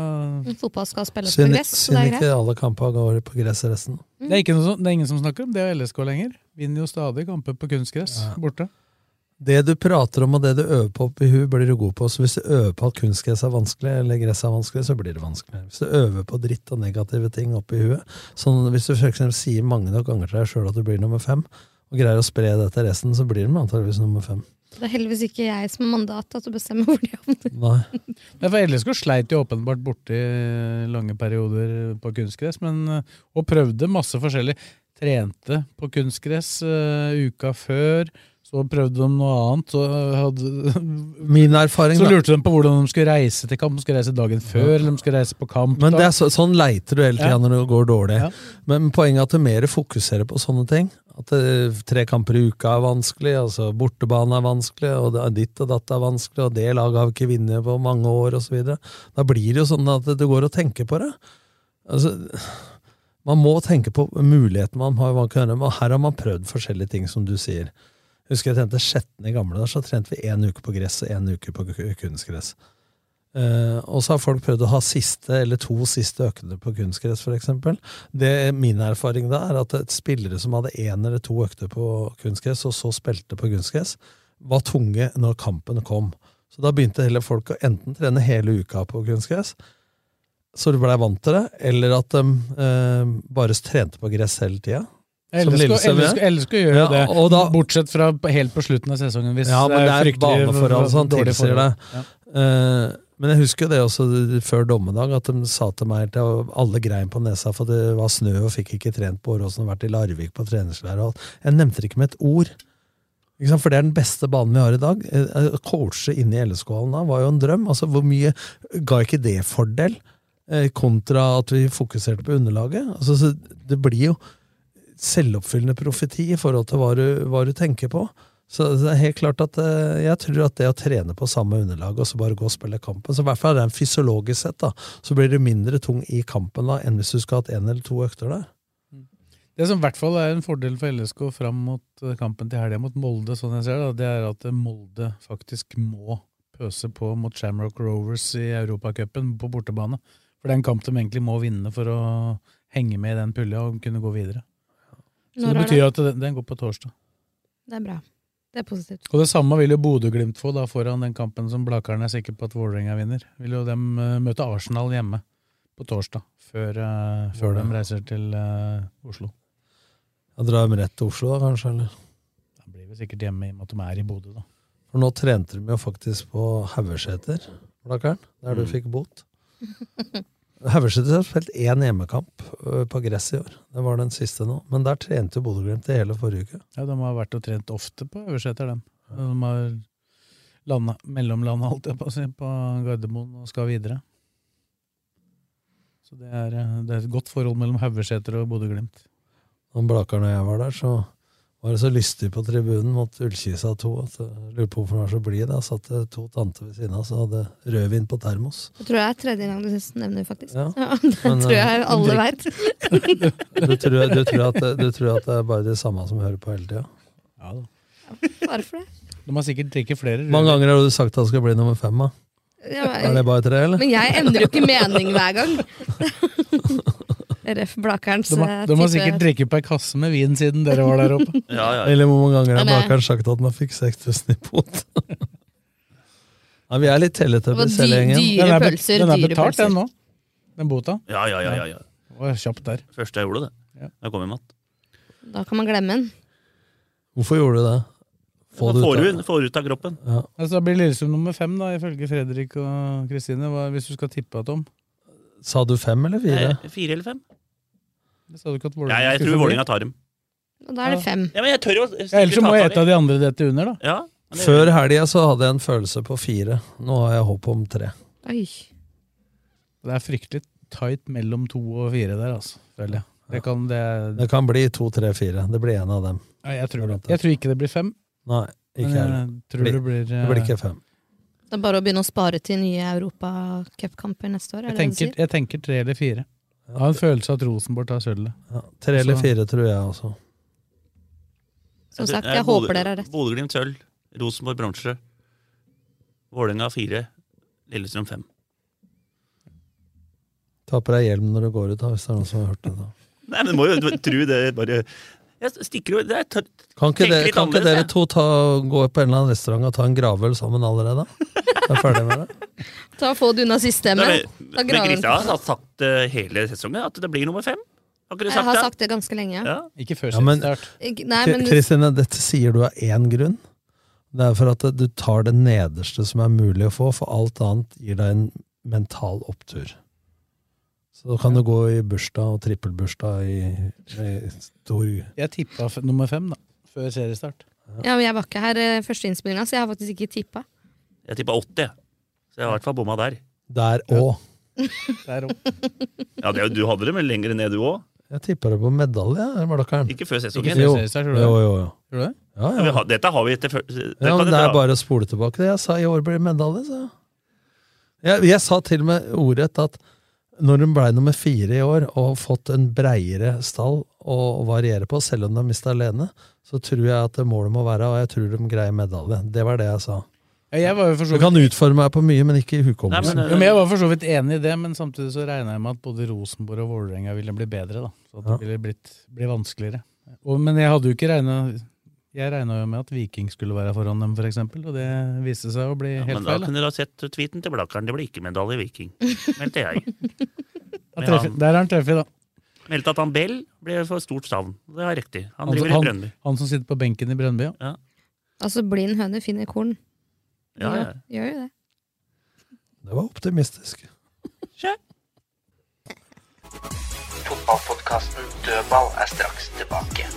S6: Fotball skal spilles på
S5: Synd
S6: gress, så det
S5: synd
S6: er greit.
S5: ikke alle kampene går på gress resten.
S4: det, er ikke noe, som- det er ingen som snakker om det er LSK lenger. Vinner jo stadig kamper på kunstgress borte.
S5: Det du prater om og det du øver på oppi huet, blir du god på. Så hvis du øver på at kunstgress er vanskelig, eller gress er vanskelig, så blir det vanskelig. Hvis du øver på dritt og negative ting oppi huet, sånn hvis du for eksempel sier mange nok ganger til deg sjøl at du blir nummer fem, og greier å spre det til resten, så blir du antageligvis nummer fem.
S6: Det er heldigvis ikke jeg som har mandat til å bestemme hvor de havner.
S5: Nei.
S4: Ja, for LSK sleit jo åpenbart borti lange perioder på kunstgress, men, eh, og prøvde masse forskjellig. Trente på kunstgress eh, uka før, så prøvde de noe annet. Så, eh,
S5: [LAUGHS]
S4: hadde,
S5: Min erfaring,
S4: så
S5: da.
S4: lurte de på hvordan de skulle reise til kamp. De skulle reise dagen før, eller de skulle reise på kamp.
S5: Men det
S4: da.
S5: er så, sånn leiter du hele tida
S4: Ja.
S5: når det går dårlig.
S4: Ja.
S5: Men poenget er at du mer fokuserer på sånne ting. At eh, tre kamper i uka er vanskelig, altså bortebane er vanskelig, og det er ditt og datt er vanskelig, og det laget har vi ikke vunnet på mange år, osv. Da blir det jo sånn at du går og tenker på det. Altså, man må tenke på muligheten man har. Man kan gjøre, og her har man prøvd forskjellige ting, som du sier. Jeg husker jeg trente sjetten i gamle dager, så trente vi én uke på gress og én uke på ku- kunstgress. Eh, Eh, og så har folk prøvd å ha siste eller to siste økter på kunstgress, f.eks. Min erfaring da er at et spillere som hadde én eller to økter på kunstgress, og så spilte på kunstgress, var tunge når kampen kom. Så da begynte heller folk å enten trene hele uka på kunstgress, så de blei vant til det, eller at de eh, bare trente på gress hele tida. Som
S4: Ellers skulle-
S5: Lillestrøm gjør.
S4: ellers skulle- ellers skulle gjøre det,
S5: og da,
S4: bortsett fra på- helt på slutten av sesongen. Hvis
S5: ja, men det er,
S4: fryktelig
S5: baneforhold som
S4: dårlig
S5: tilsier det.
S4: forhold. Ja.
S5: Eh, men jeg husker jo det også eh, før dommedag, at de sa til meg til alle grein på nesa for det var snø og fikk ikke trent på Åråsen og vært i Larvik på treningsleir og alt. Jeg nevnte det ikke med et ord. Ikke sant? For det er den beste banen vi har i dag. Eh, Å coache inne i LSK-hallen da var jo en drøm. Altså, hvor mye ga ikke det fordel, eh, kontra at vi fokuserte på underlaget? Altså, så det blir jo selvoppfyllende profeti i forhold til hva du, hva du tenker på. Så det er helt klart at eh, jeg tror at det å trene på samme underlag og så bare gå og spille kampen, så i hvert fall rent fysiologisk sett, da, så blir du mindre tung i kampen da enn hvis du skulle hatt én eller to økter der.
S4: Det som i hvert fall er en fordel for LSK fram mot eh, kampen til helga mot Molde, sånn jeg ser det, da, det er at eh, Molde faktisk må pøse på mot Shamrock Rovers i Europacupen på bortebane. For det er en kamp de egentlig må vinne for å henge med i den pulja og kunne gå videre. Så
S6: Når er
S4: det betyr at den, den går på torsdag.
S6: Det er bra. Det er positivt.
S4: Og det samme vil jo Bodø-Glimt få da foran den kampen som Blakaren er sikker på at Vålerenga vinner. Vil jo dem eh, møte Arsenal hjemme på torsdag, før, eh, før de reiser til eh, Oslo.
S5: Da drar de rett til Oslo, da, kanskje? eller?
S4: De blir vel sikkert hjemme i og med at de er i Bodø, da.
S5: For nå trente de jo faktisk på Haugeseter, Blakkaren, der du
S4: Mm.
S5: fikk bot. [LAUGHS] Haugeseter har spilt én hjemmekamp ø, på gress i år. Det var den siste nå. Men der trente jo Bodø-Glimt i hele forrige uke.
S4: Ja, de har vært og trent ofte på Øverseter, dem. De har landa, mellomlanda, holdt jeg på å si, på Gardermoen og skal videre. Så det er, eh, det er et godt forhold mellom Haugeseter og Bodø-Glimt.
S5: Når Blakkaren og jeg var der, så var det så lystig på tribunen mot Ullkisa 2 at jeg lurer på hvorfor han var så blid. Der satt det to tanter ved siden av som hadde rødvin på termos.
S6: Det tror jeg er tredje gang du nevner det, faktisk.
S5: Ja.
S6: [LAUGHS] Ja. det
S5: Men,
S6: tror jeg
S5: eh,
S6: alle
S5: drikk-
S6: veit.
S5: Du tror, du, tror at, det- du tror at det er bare de samme som hører på hele tida?
S4: Ja da.
S6: Bare for det.
S4: De har sikkert drikket flere.
S5: Hvor mange ganger har du sagt at det skal bli nummer fem? da?
S6: Ja, men-
S5: Er det bare tre, eller?
S6: Men jeg endrer jo ikke mening hver gang.
S4: [LAUGHS]
S6: eh, RF Blakerens
S4: De har, de har sikkert drikket på ei kasse med vin siden dere var der
S6: [LAUGHS]
S4: oppe.
S5: Eller hvor mange ganger har
S6: Men, eh,
S5: Blakkaren sagt at man fikk 6000 i pot? [LAUGHS] Nei, vi er litt
S6: Det
S5: telletubbies,
S6: var dy-
S5: hele gjengen.
S6: dyre Den er be- pølser,
S4: Den er
S6: dyre
S4: betalt,
S6: pølser.
S4: den nå. Den bota.
S3: Ja, ja, ja. ja, ja.
S4: Å, kjapt der.
S3: Første jeg gjorde, det. Da jeg kom hjem igjen.
S6: Da kan man glemme den.
S5: Hvorfor gjorde du det? Få
S3: Da
S5: det ut
S3: Får
S5: av-
S3: du den får du ut av kroppen.
S4: Altså, da blir Lillestrøm nummer fem, da, ifølge Fredrik og Kristine, hva- hvis du skal tippe, Tom.
S5: Sa du fem eller fire?
S3: Nei, Eh, Fire eller fem?
S4: Det sa du ikke at
S3: Ja,
S4: Vålerenga
S3: jeg
S4: skulle
S3: tror
S4: få bli.
S3: Vålerenga tar dem.
S6: Og da er det fem.
S3: Ja, men jeg tør jo
S4: Ja, ellers så må jeg et av de andre dette under, da.
S3: Ja,
S5: Før helga så hadde jeg en følelse på fire. Nå har jeg håp om tre.
S6: Oi.
S4: Det er fryktelig tight mellom to og fire der, altså. Føler jeg. Det kan, det,
S5: Det kan bli to, tre, fire. Det blir en av dem.
S4: Nei, jeg, tror, jeg tror ikke det blir fem.
S5: Nei, ikke
S4: Men eh, jeg
S5: heller.
S4: tror det blir, eh,
S5: det blir ikke fem.
S6: Det er bare å begynne å spare til nye europacupkamper neste år. Er
S4: Jeg
S6: det det du
S4: tenker,
S6: sier?
S4: jeg tenker tre eller fire. Jeg har en følelse av at Rosenborg tar sølvet.
S5: Ja, tre eller
S4: Så-
S5: fire tror jeg også.
S6: Som sagt,
S3: Eh,
S6: jeg
S3: Bodø-
S6: håper dere har rett.
S3: Bodø-Glimt sølv, Rosenborg bronse, Vålerenga fire, Lillestrøm fem.
S5: Ta på deg hjelm når du går ut, da, hvis det er noen som har hørt det. da.
S3: Nei, men må jo tro det bare Jeg stikker jo det er tørt.
S5: Kan
S3: Tenk
S5: ikke, dere,
S3: litt
S5: kan ikke
S3: annerledes,
S5: dere
S3: jeg.
S5: to ta, gå på en eller annen restaurant og ta en gravøl sammen allerede? Jeg er ferdig med det.
S6: Ta og Få det unna
S3: Nei,
S6: systemet.
S3: men-
S6: Da
S3: Men
S6: graver-
S3: Kristian har sagt eh, hele sesongen at det blir nummer fem. Har ikke du
S6: Jeg
S3: sagt
S6: har
S3: det?
S6: sagt det ganske lenge.
S3: Ja.
S4: Ikke før
S5: Ja, men-
S4: seriestart.
S6: Ikke- Nei, men hvis-
S5: Kristine, dette sier du av én grunn. Det er for at du tar det nederste som er mulig å få, for alt annet gir deg en mental opptur. Så da kan du gå i bursdag og trippelbursdag i, i stor
S4: Jeg tippa f- nummer fem, da. Før seriestart.
S6: ja, men jeg var ikke her eh, første innspillinga, så jeg har faktisk ikke tippa.
S3: Jeg tippa 80, jeg. så jeg har i hvert fall bomma der.
S5: Der òg.
S4: Der opp.
S3: Ja, det, er jo- Du hadde det vel lenger ned, du òg?
S5: Jeg tippa det på medalje, Blakkaren.
S3: Ikke før
S4: Ikke
S3: sesongen.
S4: før
S5: Jo.
S4: seriestart,
S5: Jo,
S4: tror du
S5: jo,
S4: det?
S5: jo.
S4: Tror du det?
S5: Ja,
S3: Ja, vi
S5: ja.
S3: har- dette har vi etter før dette
S5: Ja,
S3: kan
S5: men
S3: dere
S5: det er
S3: ha.
S5: bare å spole tilbake det. Jeg sa i år blir det medalje, sa jeg. Jeg, jeg sa til og med ordrett at når hun blei nummer fire i år og har fått en breiere stall å variere på, selv om de har mista alene, så tror jeg at målet må være, og jeg tror de greier medalje. Det var det jeg sa.
S4: Ja, jeg var jo for så
S5: Du
S4: vidt-
S5: kan utforme meg på mye, men ikke i
S4: Nei,
S5: hukommelsen.
S4: men, jo, men jeg var for så vidt enig i det, men samtidig så regna jeg med at både Rosenborg og Vålerenga ville bli bedre. da. Så at det ville blitt, bli vanskeligere. Og, men jeg hadde jo ikke regna Jeg regna jo med at Viking skulle være foran dem, f.eks., og det viste seg å bli
S3: eh, Men
S4: helt
S3: da
S4: feil. da.
S3: kunne dere ha sett tweeten til Blakkaren. Det ble ikke medalje i Viking, meldte jeg.
S4: Da treffer, der er han treffig, da.
S3: Meldte at han Bell ble for stort savn. Det er riktig. Han
S4: som-
S3: driver i Brønnby.
S4: han, han som sitter på benken i Brønnby, ja.
S6: Altså, blind høne finner korn.
S3: Ja, ja.
S6: Gjør- Gjør jo det.
S5: Det var optimistisk.
S7: Fotballpodkasten Dødball er straks tilbake.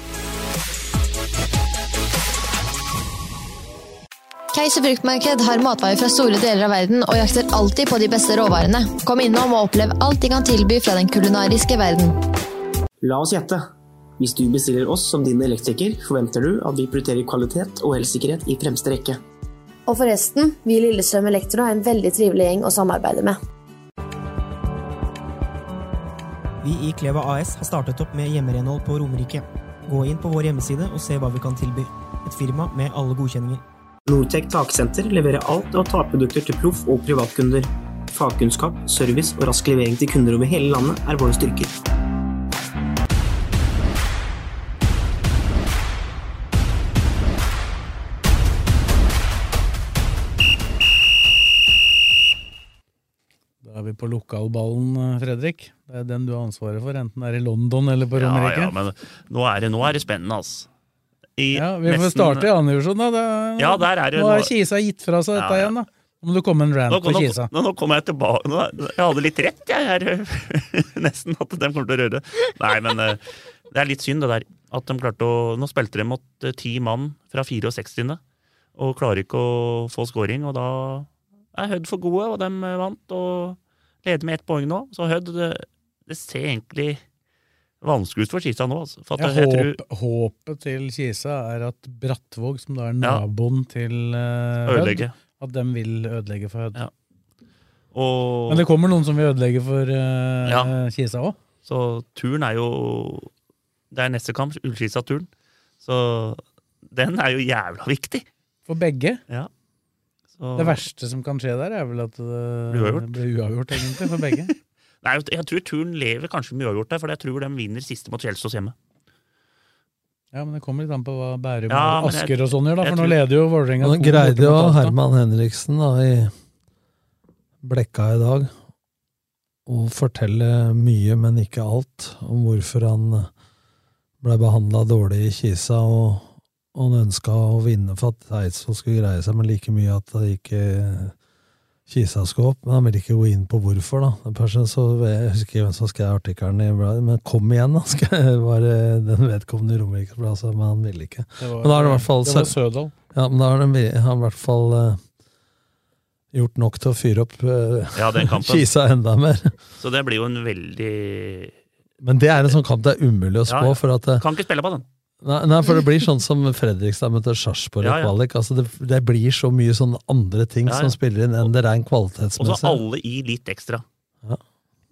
S2: Keiser fruktmarked har matvarer fra store deler av verden og jakter alltid på de beste råvarene. Kom innom og opplev alt de kan tilby fra den kulinariske verden.
S1: La oss gjette. Hvis du bestiller oss som din elektriker, forventer du at vi prioriterer kvalitet og elsikkerhet i fremste rekke.
S8: Og forresten, vi i Lillestrøm Elektro er en veldig trivelig gjeng å samarbeide med.
S9: Vi i Kleva AS har startet opp med hjemmerenhold på Romerike. Gå inn på vår hjemmeside og se hva vi kan tilby. Et firma med alle godkjenninger.
S1: Nortec taksenter leverer alt av takprodukter til proff- og privatkunder. Fagkunnskap, service og rask levering til kunder over hele landet er våre styrker.
S4: Da er vi på lokalballen, eh, Fredrik. Det er den du har ansvaret for, enten det er i London eller på
S3: Ja,
S4: Romerike.
S3: ja, men nå er det, nå er det spennende, altså. I
S4: Ja, vi får
S3: nesten-
S4: starte i annen divisjon, da. Det,
S3: Ja, der er det-
S4: nå har Kisa gitt fra seg dette
S3: Ja, ja.
S4: igjen, da. Nå må du komme en rant
S3: Nå,
S4: på
S3: nå,
S4: Kisa.
S3: nå, nå kommer jeg tilbake nå, Jeg hadde litt rett, jeg. her. [LAUGHS] nesten at de kommer til å røre. Nei, men eh, det er litt synd, det der. At de klarte å Nå spilte de mot eh, ti mann fra 64. Og klarer ikke å få scoring, og da er Hødd for gode, og de eh, vant. Og leder med ett poeng nå. Så Hødd det, det ser egentlig vanskelig ut for Kisa nå, altså. For
S4: Jeg
S3: at jeg, tror
S4: håp, håpet til Kisa er at Brattvåg, som da er
S3: Ja.
S4: naboen til eh, Hødd,
S3: Ødelegge.
S4: at dem vil ødelegge for Hødd.
S3: og,
S4: Men det kommer noen som vil ødelegge for eh, Kisa òg.
S3: Så turen er jo Det er neste kamp, Ullskisa-turen. Så den er jo jævla viktig.
S4: For begge.
S3: Ja. Så-
S4: Det verste som kan skje der, er vel at det
S3: Blir uavgjort.
S4: blir uavgjort, egentlig, for
S3: [LAUGHS]
S4: begge.
S3: Nei, jeg tror turen lever kanskje med uavgjort der, for jeg tror de vinner siste mot Kjelsås hjemme.
S4: Ja, men det kommer litt an på hva Bærum
S3: Ja,
S4: og
S3: men jeg-
S4: Asker og sånn gjør, da.
S3: jeg
S4: For nå
S3: tror-
S4: leder jo Vålerenga
S5: Nå
S4: to borte
S5: greide jo
S4: mot Alta.
S5: Herman Henriksen da, i Blekka i dag å fortelle mye, men ikke alt, om hvorfor han blei behandla dårlig i Kisa, og og han ønska å vinne for at Eidsvoll skulle greie seg, men like mye at det ikke Kisa skulle opp. Men han ville ikke gå inn på hvorfor, da. Den personen, så jeg husker ikke hvem som skrev artikkelen i bladet, men kom igjen, da! [LAUGHS] skal- var det den vedkommende i Romerikesbladet, altså, men han ville ikke.
S4: Det var-
S5: men da er det i hvert fall
S4: det var Sødal.
S5: ja, men da har de, han i hvert fall eh, gjort nok til å fyre opp eh,
S3: Ja, den
S4: [LAUGHS]
S3: kampen.
S5: Kisa enda mer.
S3: Så det blir jo en veldig
S5: Men det er en sånn kamp det er umulig å spå.
S3: Ja, ja.
S5: for at eh,
S3: Kan ikke spille på den.
S5: Nei, nei, for det blir sånn som Fredrikstad møter Sarpsborg i
S3: Ja, ja.
S5: kvalik. Altså det, det blir så mye sånne andre ting
S3: Ja, ja.
S5: som spiller inn enn det rein
S3: Og så
S5: kvalitetsmessige.
S3: alle i litt ekstra.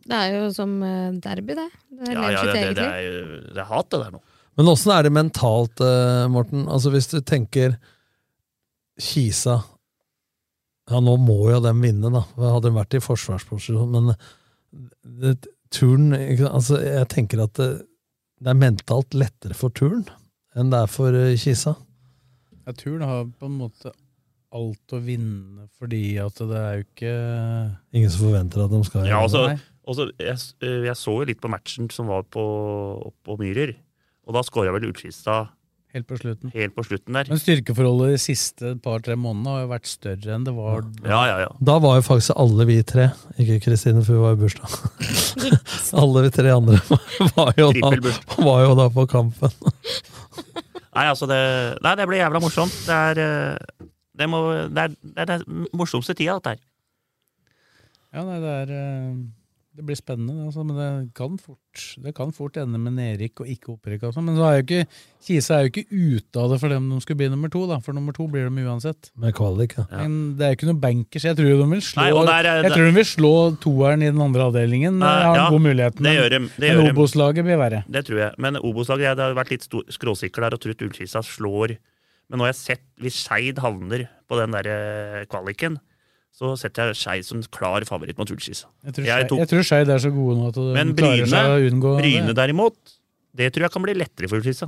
S6: Det er jo som eh, derby, det. Det er
S3: Ja,
S6: lever
S3: ja,
S6: sitt
S3: det,
S6: eget
S3: det, det
S6: liv.
S3: er jo det er hat, det der nå.
S5: Men åssen er det mentalt, eh, Morten? Altså Hvis du tenker Kisa Ja, nå må jo dem vinne, da. Hadde de vært i forsvarsposisjon, men eh, det, turn ikke, sant? altså, Jeg tenker at det, det er mentalt lettere for turn enn det er for eh, Kisa.
S4: Ja, turen har på en måte alt å vinne, fordi at det er jo ikke
S5: Ingen som forventer at de skal
S3: Ja, altså,
S4: Nei.
S3: altså, jeg, s- eh, jeg så jo litt på matchen som var på, på Myhrer, og da skåra vel Ullskisa
S4: Helt på slutten.
S3: helt på slutten der.
S4: Men styrkeforholdet de siste par-tre månedene har jo vært større enn det var
S3: Ja, ja, ja.
S5: Da var jo faktisk alle vi tre, ikke Kristine, for hun var i bursdag. alle vi tre andre [LAUGHS] var jo, da,
S3: Trippelbursdag.
S5: var jo da på kampen.
S3: Nei, altså det, nei, det blir jævla morsomt. Det er eh, det, må, det, er, det er den morsomste tida, dette her.
S4: Ja, nei, det er eh, Det blir spennende, det, altså, men det kan fort Det kan fort ende med nedrykk og ikke opprykk. Altså. Men så er jo ikke, Kisa er jo ikke ute av det for dem de skulle bli nummer to, da, for nummer to blir de uansett.
S5: Med kvalik, ja.
S4: Men det er jo ikke noe bankers. Jeg tror de vil slå,
S3: Nei, og der er-
S4: jeg tror de vil slå toeren i den andre avdelingen.
S3: Nei,
S4: Jeg har
S3: ja,
S4: en god mulighet,
S3: det gjør de, det gjør
S4: men
S3: de.
S4: Obos-laget blir verre.
S3: Det tror jeg. Men Obos-laget jeg har vært litt stor- skråsikker der og trodd Ullskisa slår Men nå har jeg sett, hvis Skeid havner på den der eh, kvaliken, så setter jeg Skeid som klar favoritt mot Ullskis.
S4: Jeg tror Skeid- jeg tror Skeid er så gode nå at de
S3: Men
S4: klarer
S3: Bryne,
S4: seg å unngå
S3: Bryne
S4: det.
S3: derimot, det tror jeg kan bli lettere for Ullskis.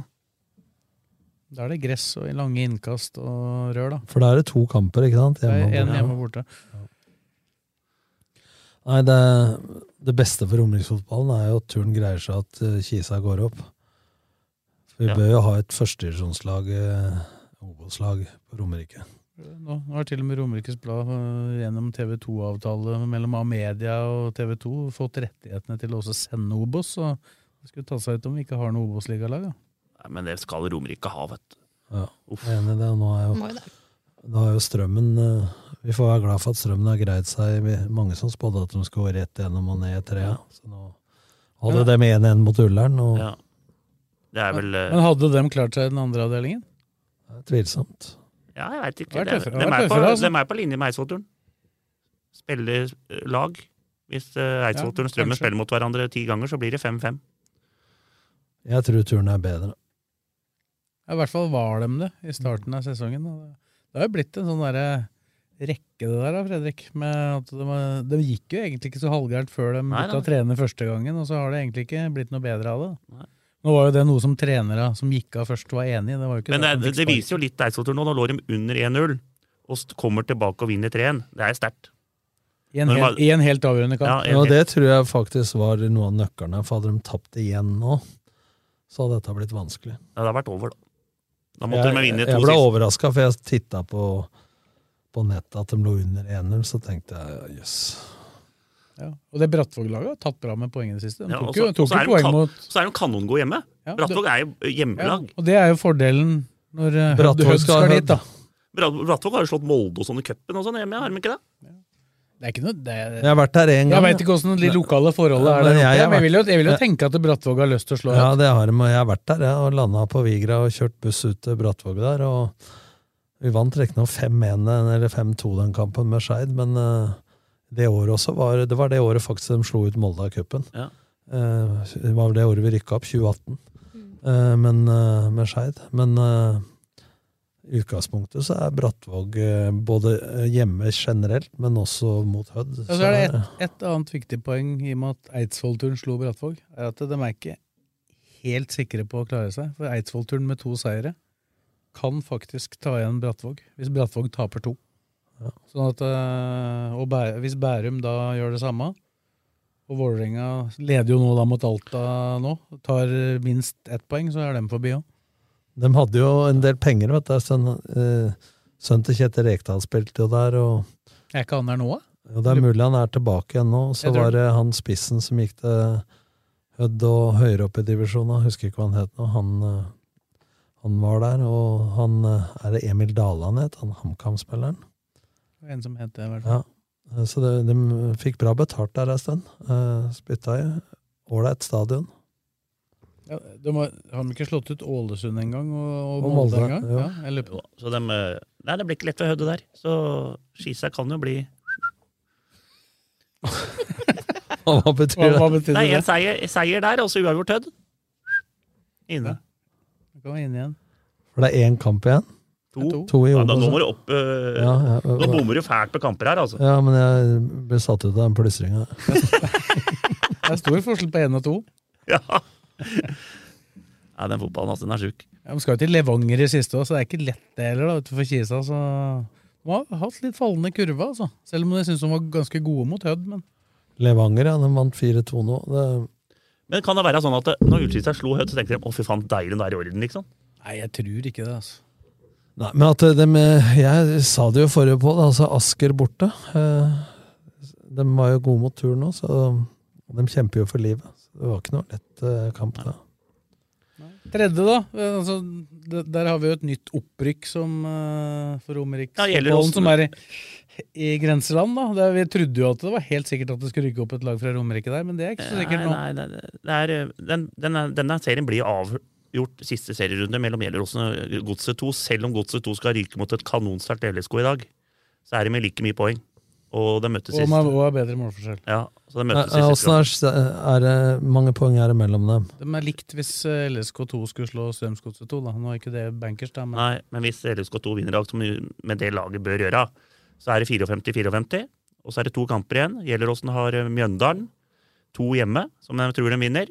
S4: Da er det gress og lange innkast og rør, da.
S5: For da er det to kamper, ikke sant?
S4: Det er
S5: og
S4: en
S5: borte.
S4: hjemme og borte.
S5: Nei, det, det beste for romeriksfotballen er jo at turen greier seg at eh, Kisa går opp. For vi
S4: Ja.
S5: bør jo ha et førstedivisjonslag, eh, Obos-lag, på Romerike.
S4: Nå, nå er til og med Romerikes Blad øh, gjennom TV2-avtale mellom Amedia og TV2 fått rettighetene til å også sende Obos. Så det skulle ta seg ut om vi ikke har noe Obos-ligalag. da.
S3: Nei, Men det skal Romerike ha, vet du.
S5: Ja, jeg er enig i det. og Nå er
S6: Må jo
S5: jo, nå er jo strømmen eh, Vi får være glad for at strømmen har greid seg. Vi- Mange som spådde at de skulle gå rett gjennom og ned i trea. Så nå holder de 1-1 mot Ullern. Og
S3: Det er vel eh,
S4: Men hadde de klart seg i den andre avdelingen?
S5: Tvilsomt.
S3: Ja, jeg veit ikke.
S4: Det er
S3: Det
S4: tøffere-
S3: de,
S4: det er
S3: er på,
S4: tøffere, altså.
S3: dem er på linje med Eidsvollturen. Spiller eh, lag. Hvis eh, Eidsvollturen og Strømmen
S5: kanskje.
S3: spiller mot hverandre ti ganger, så blir det 5-5.
S5: Jeg tror turen er bedre.
S4: Ja, I hvert fall var de det i starten av sesongen. og det- Det har jo blitt en sånn derre rekke, det der, da, Fredrik. Med at de, var- det gikk jo egentlig ikke så halvgærent før de
S3: Nei,
S4: begynte å
S3: nei.
S4: trene første gangen, og så har det egentlig ikke blitt noe bedre av det. Nå var jo det noe som trenere som gikk av først, var enig i. Det var jo ikke
S3: Men det,
S4: at
S3: er-
S4: de fikk
S3: det
S4: sparken.
S3: viser jo litt Eidsvollturen nå. Nå lå de under 1-0 og st- kommer tilbake og vinner 3-1. Det er sterkt.
S4: I en,
S3: Når de
S4: helt,
S3: har-
S4: I en helt avgjørende kamp.
S5: Ja, og det tror jeg faktisk var noe av nøkkerne, for hadde de tapt igjen nå, så hadde dette blitt vanskelig.
S3: Ja, det har vært over, da. Da måtte de
S5: jeg,
S3: vinne to
S5: jeg ble
S3: siste.
S5: overraska, for jeg titta på, på nettet at de lå under 1-0, så tenkte jeg jøss.
S4: Ja. Og det Brattvåg-laget har tatt bra med poengene siste. De
S3: Ja, og
S4: tok
S3: så
S4: jo,
S3: og
S4: tok
S3: så
S4: jo
S3: er de
S4: poeng
S3: kan-
S4: mot
S3: så er de kanongode hjemme.
S4: Ja,
S3: Brattvåg
S4: det-
S3: er jo eh,
S4: ja,
S3: hjemmelag.
S4: Og det er jo fordelen når eh, Hødd-
S5: Brattvåg
S4: Hødd
S5: skal
S4: skal
S5: ha
S4: dit, da.
S3: Brat- Brattvåg har jo slått Molde og sånn i cupen og sånn hjemme, har de ikke det?
S4: Det er ikke noe det er,
S5: Jeg har vært der en gang,
S4: Jeg
S5: ja.
S4: veit ikke åssen de lokale forholdene er
S5: Men
S4: der
S5: jeg
S4: oppe.
S5: har
S4: men Jeg vil jo,
S5: vært-
S4: jeg vil jo
S5: Ja.
S4: tenke at Brattvåg har lyst til å slå
S5: Ja,
S4: Hødd.
S5: det har de, og jeg har vært der, jeg, og landa på Vigra og kjørt buss ut til Brattvåg der, og vi vant riktignok 5-1 eller 5-2 den kampen med Skeid, men eh, det året også var Det var det året faktisk de slo ut Molde av cupen.
S3: Ja.
S5: Eh, Det var vel det året vi rykka opp, 2018, Eh, men, eh, med Skeid. Men eh, i utgangspunktet så er Brattvåg eh, både eh, hjemme generelt, men også mot Hødd.
S4: Og så er det et, et annet viktig poeng i og med at Eidsvollturen slo Brattvåg, er at de er ikke helt sikre på å klare seg. For Eidsvollturen med to seire kan faktisk ta igjen Brattvåg, hvis Brattvåg taper to. Sånn at, eh, og Bæ- hvis Bærum da gjør det samme, og Vålerenga leder jo nå da mot Alta nå, tar minst ett poeng, så er de forbi òg.
S5: De hadde jo en del penger, vet du. Sønnen, eh, sønnen til Kjetil Rekdal spilte jo der, og
S4: Er ikke han der nå, da?
S5: jo, det er mulig han er tilbake igjen nå. Så
S4: Jeg tror
S5: var
S4: det.
S5: det han spissen som gikk til Hødd og høyere opp i divisjonen, jeg husker ikke hva han het nå. Han, eh, han var der, og han eh, Er det Emil Dale han het, han HamKam-spilleren?
S4: En som heter det, i hvert fall.
S5: Ja. Eh, Så det, de fikk bra betalt der en stund. Eh, Spytta i. Ålreit stadion. [LAUGHS]
S4: Ja, de har, har de ikke slått ut Ålesund engang, og, og
S5: Og
S4: Molde
S5: Molde,
S4: engang?
S5: ja.
S4: Ja, jeg lurer på-
S3: Så dem, eh, nei, det blir ikke lett ved Hødde der. Så Skisa kan jo bli
S5: Hva betyr det?
S3: Nei, en seier, seier der, og så uavgjort Hødd. Inne.
S4: Kom inn igjen.
S5: For det er én kamp igjen?
S3: To.
S5: to i
S3: ja, da,
S5: Obos,
S3: nå
S5: ja.
S3: må du opp eh,
S5: Ja, ja.
S3: Nå bommer du fælt på kamper her, altså. [LAUGHS]
S5: Ja, men jeg ble satt ut av den plystringa.
S4: Det er stor forskjell på én og to.
S3: Nei, den fotballen altså, den er sjuk.
S4: Ja, De skal jo til Levanger i siste òg, så det er ikke lett det heller. da, utenfor Kisa. Så de har hatt litt fallende kurve, altså. Selv om jeg syns de var ganske gode mot Hødd. men
S5: Levanger, ja. De vant 4-2 nå. Det,
S3: Men kan det være sånn at eh, når Ullskisa slo Hødd, så tenkte de å fy faen, deilig, nå er det i orden, liksom?
S4: Nei, jeg tror ikke det, altså.
S5: nei, men at de, jeg sa det jo forrige på, da, altså Asker borte. Eh, De var jo gode mot tur nå, så de kjemper jo for livet. Så Det var ikke noe lett eh, kamp da.
S4: Tredje, da. eh, Altså, det, der har vi jo et nytt opprykk som, eh, for
S3: Ja, det gjelder
S4: Romeriksfotballen,
S3: oss.
S4: som er i, i grenseland. da. Det, vi trodde jo at det var helt sikkert at det skulle rykke opp et lag fra Romerike der, men det er ikke så sikkert nå.
S3: Nei, nei, nei, det er, eh, den, denne, denne serien blir avgjort siste serierunde mellom Gjelleråsen og Godset 2. Selv om Godset 2 skal ryke mot et kanonsterkt LSK i dag, så er de med like mye poeng. Og de møttes
S4: Og
S3: sist.
S4: man og har bedre målforskjell.
S3: Ja, Så de møtes i siste
S5: Åssen
S3: kamp.
S5: er, er det mange poeng er det mellom dem?
S4: De er likt hvis eh, LSK2 skulle slå Strømsgodset 2. Da. Nå er ikke det bankers, da, men
S3: Nei, men hvis LSK2 vinner i dag, som med det laget bør gjøre, så er det 54-54. Og så er det to kamper igjen. Gjelleråsen har eh, Mjøndalen. To hjemme, som jeg tror de vinner.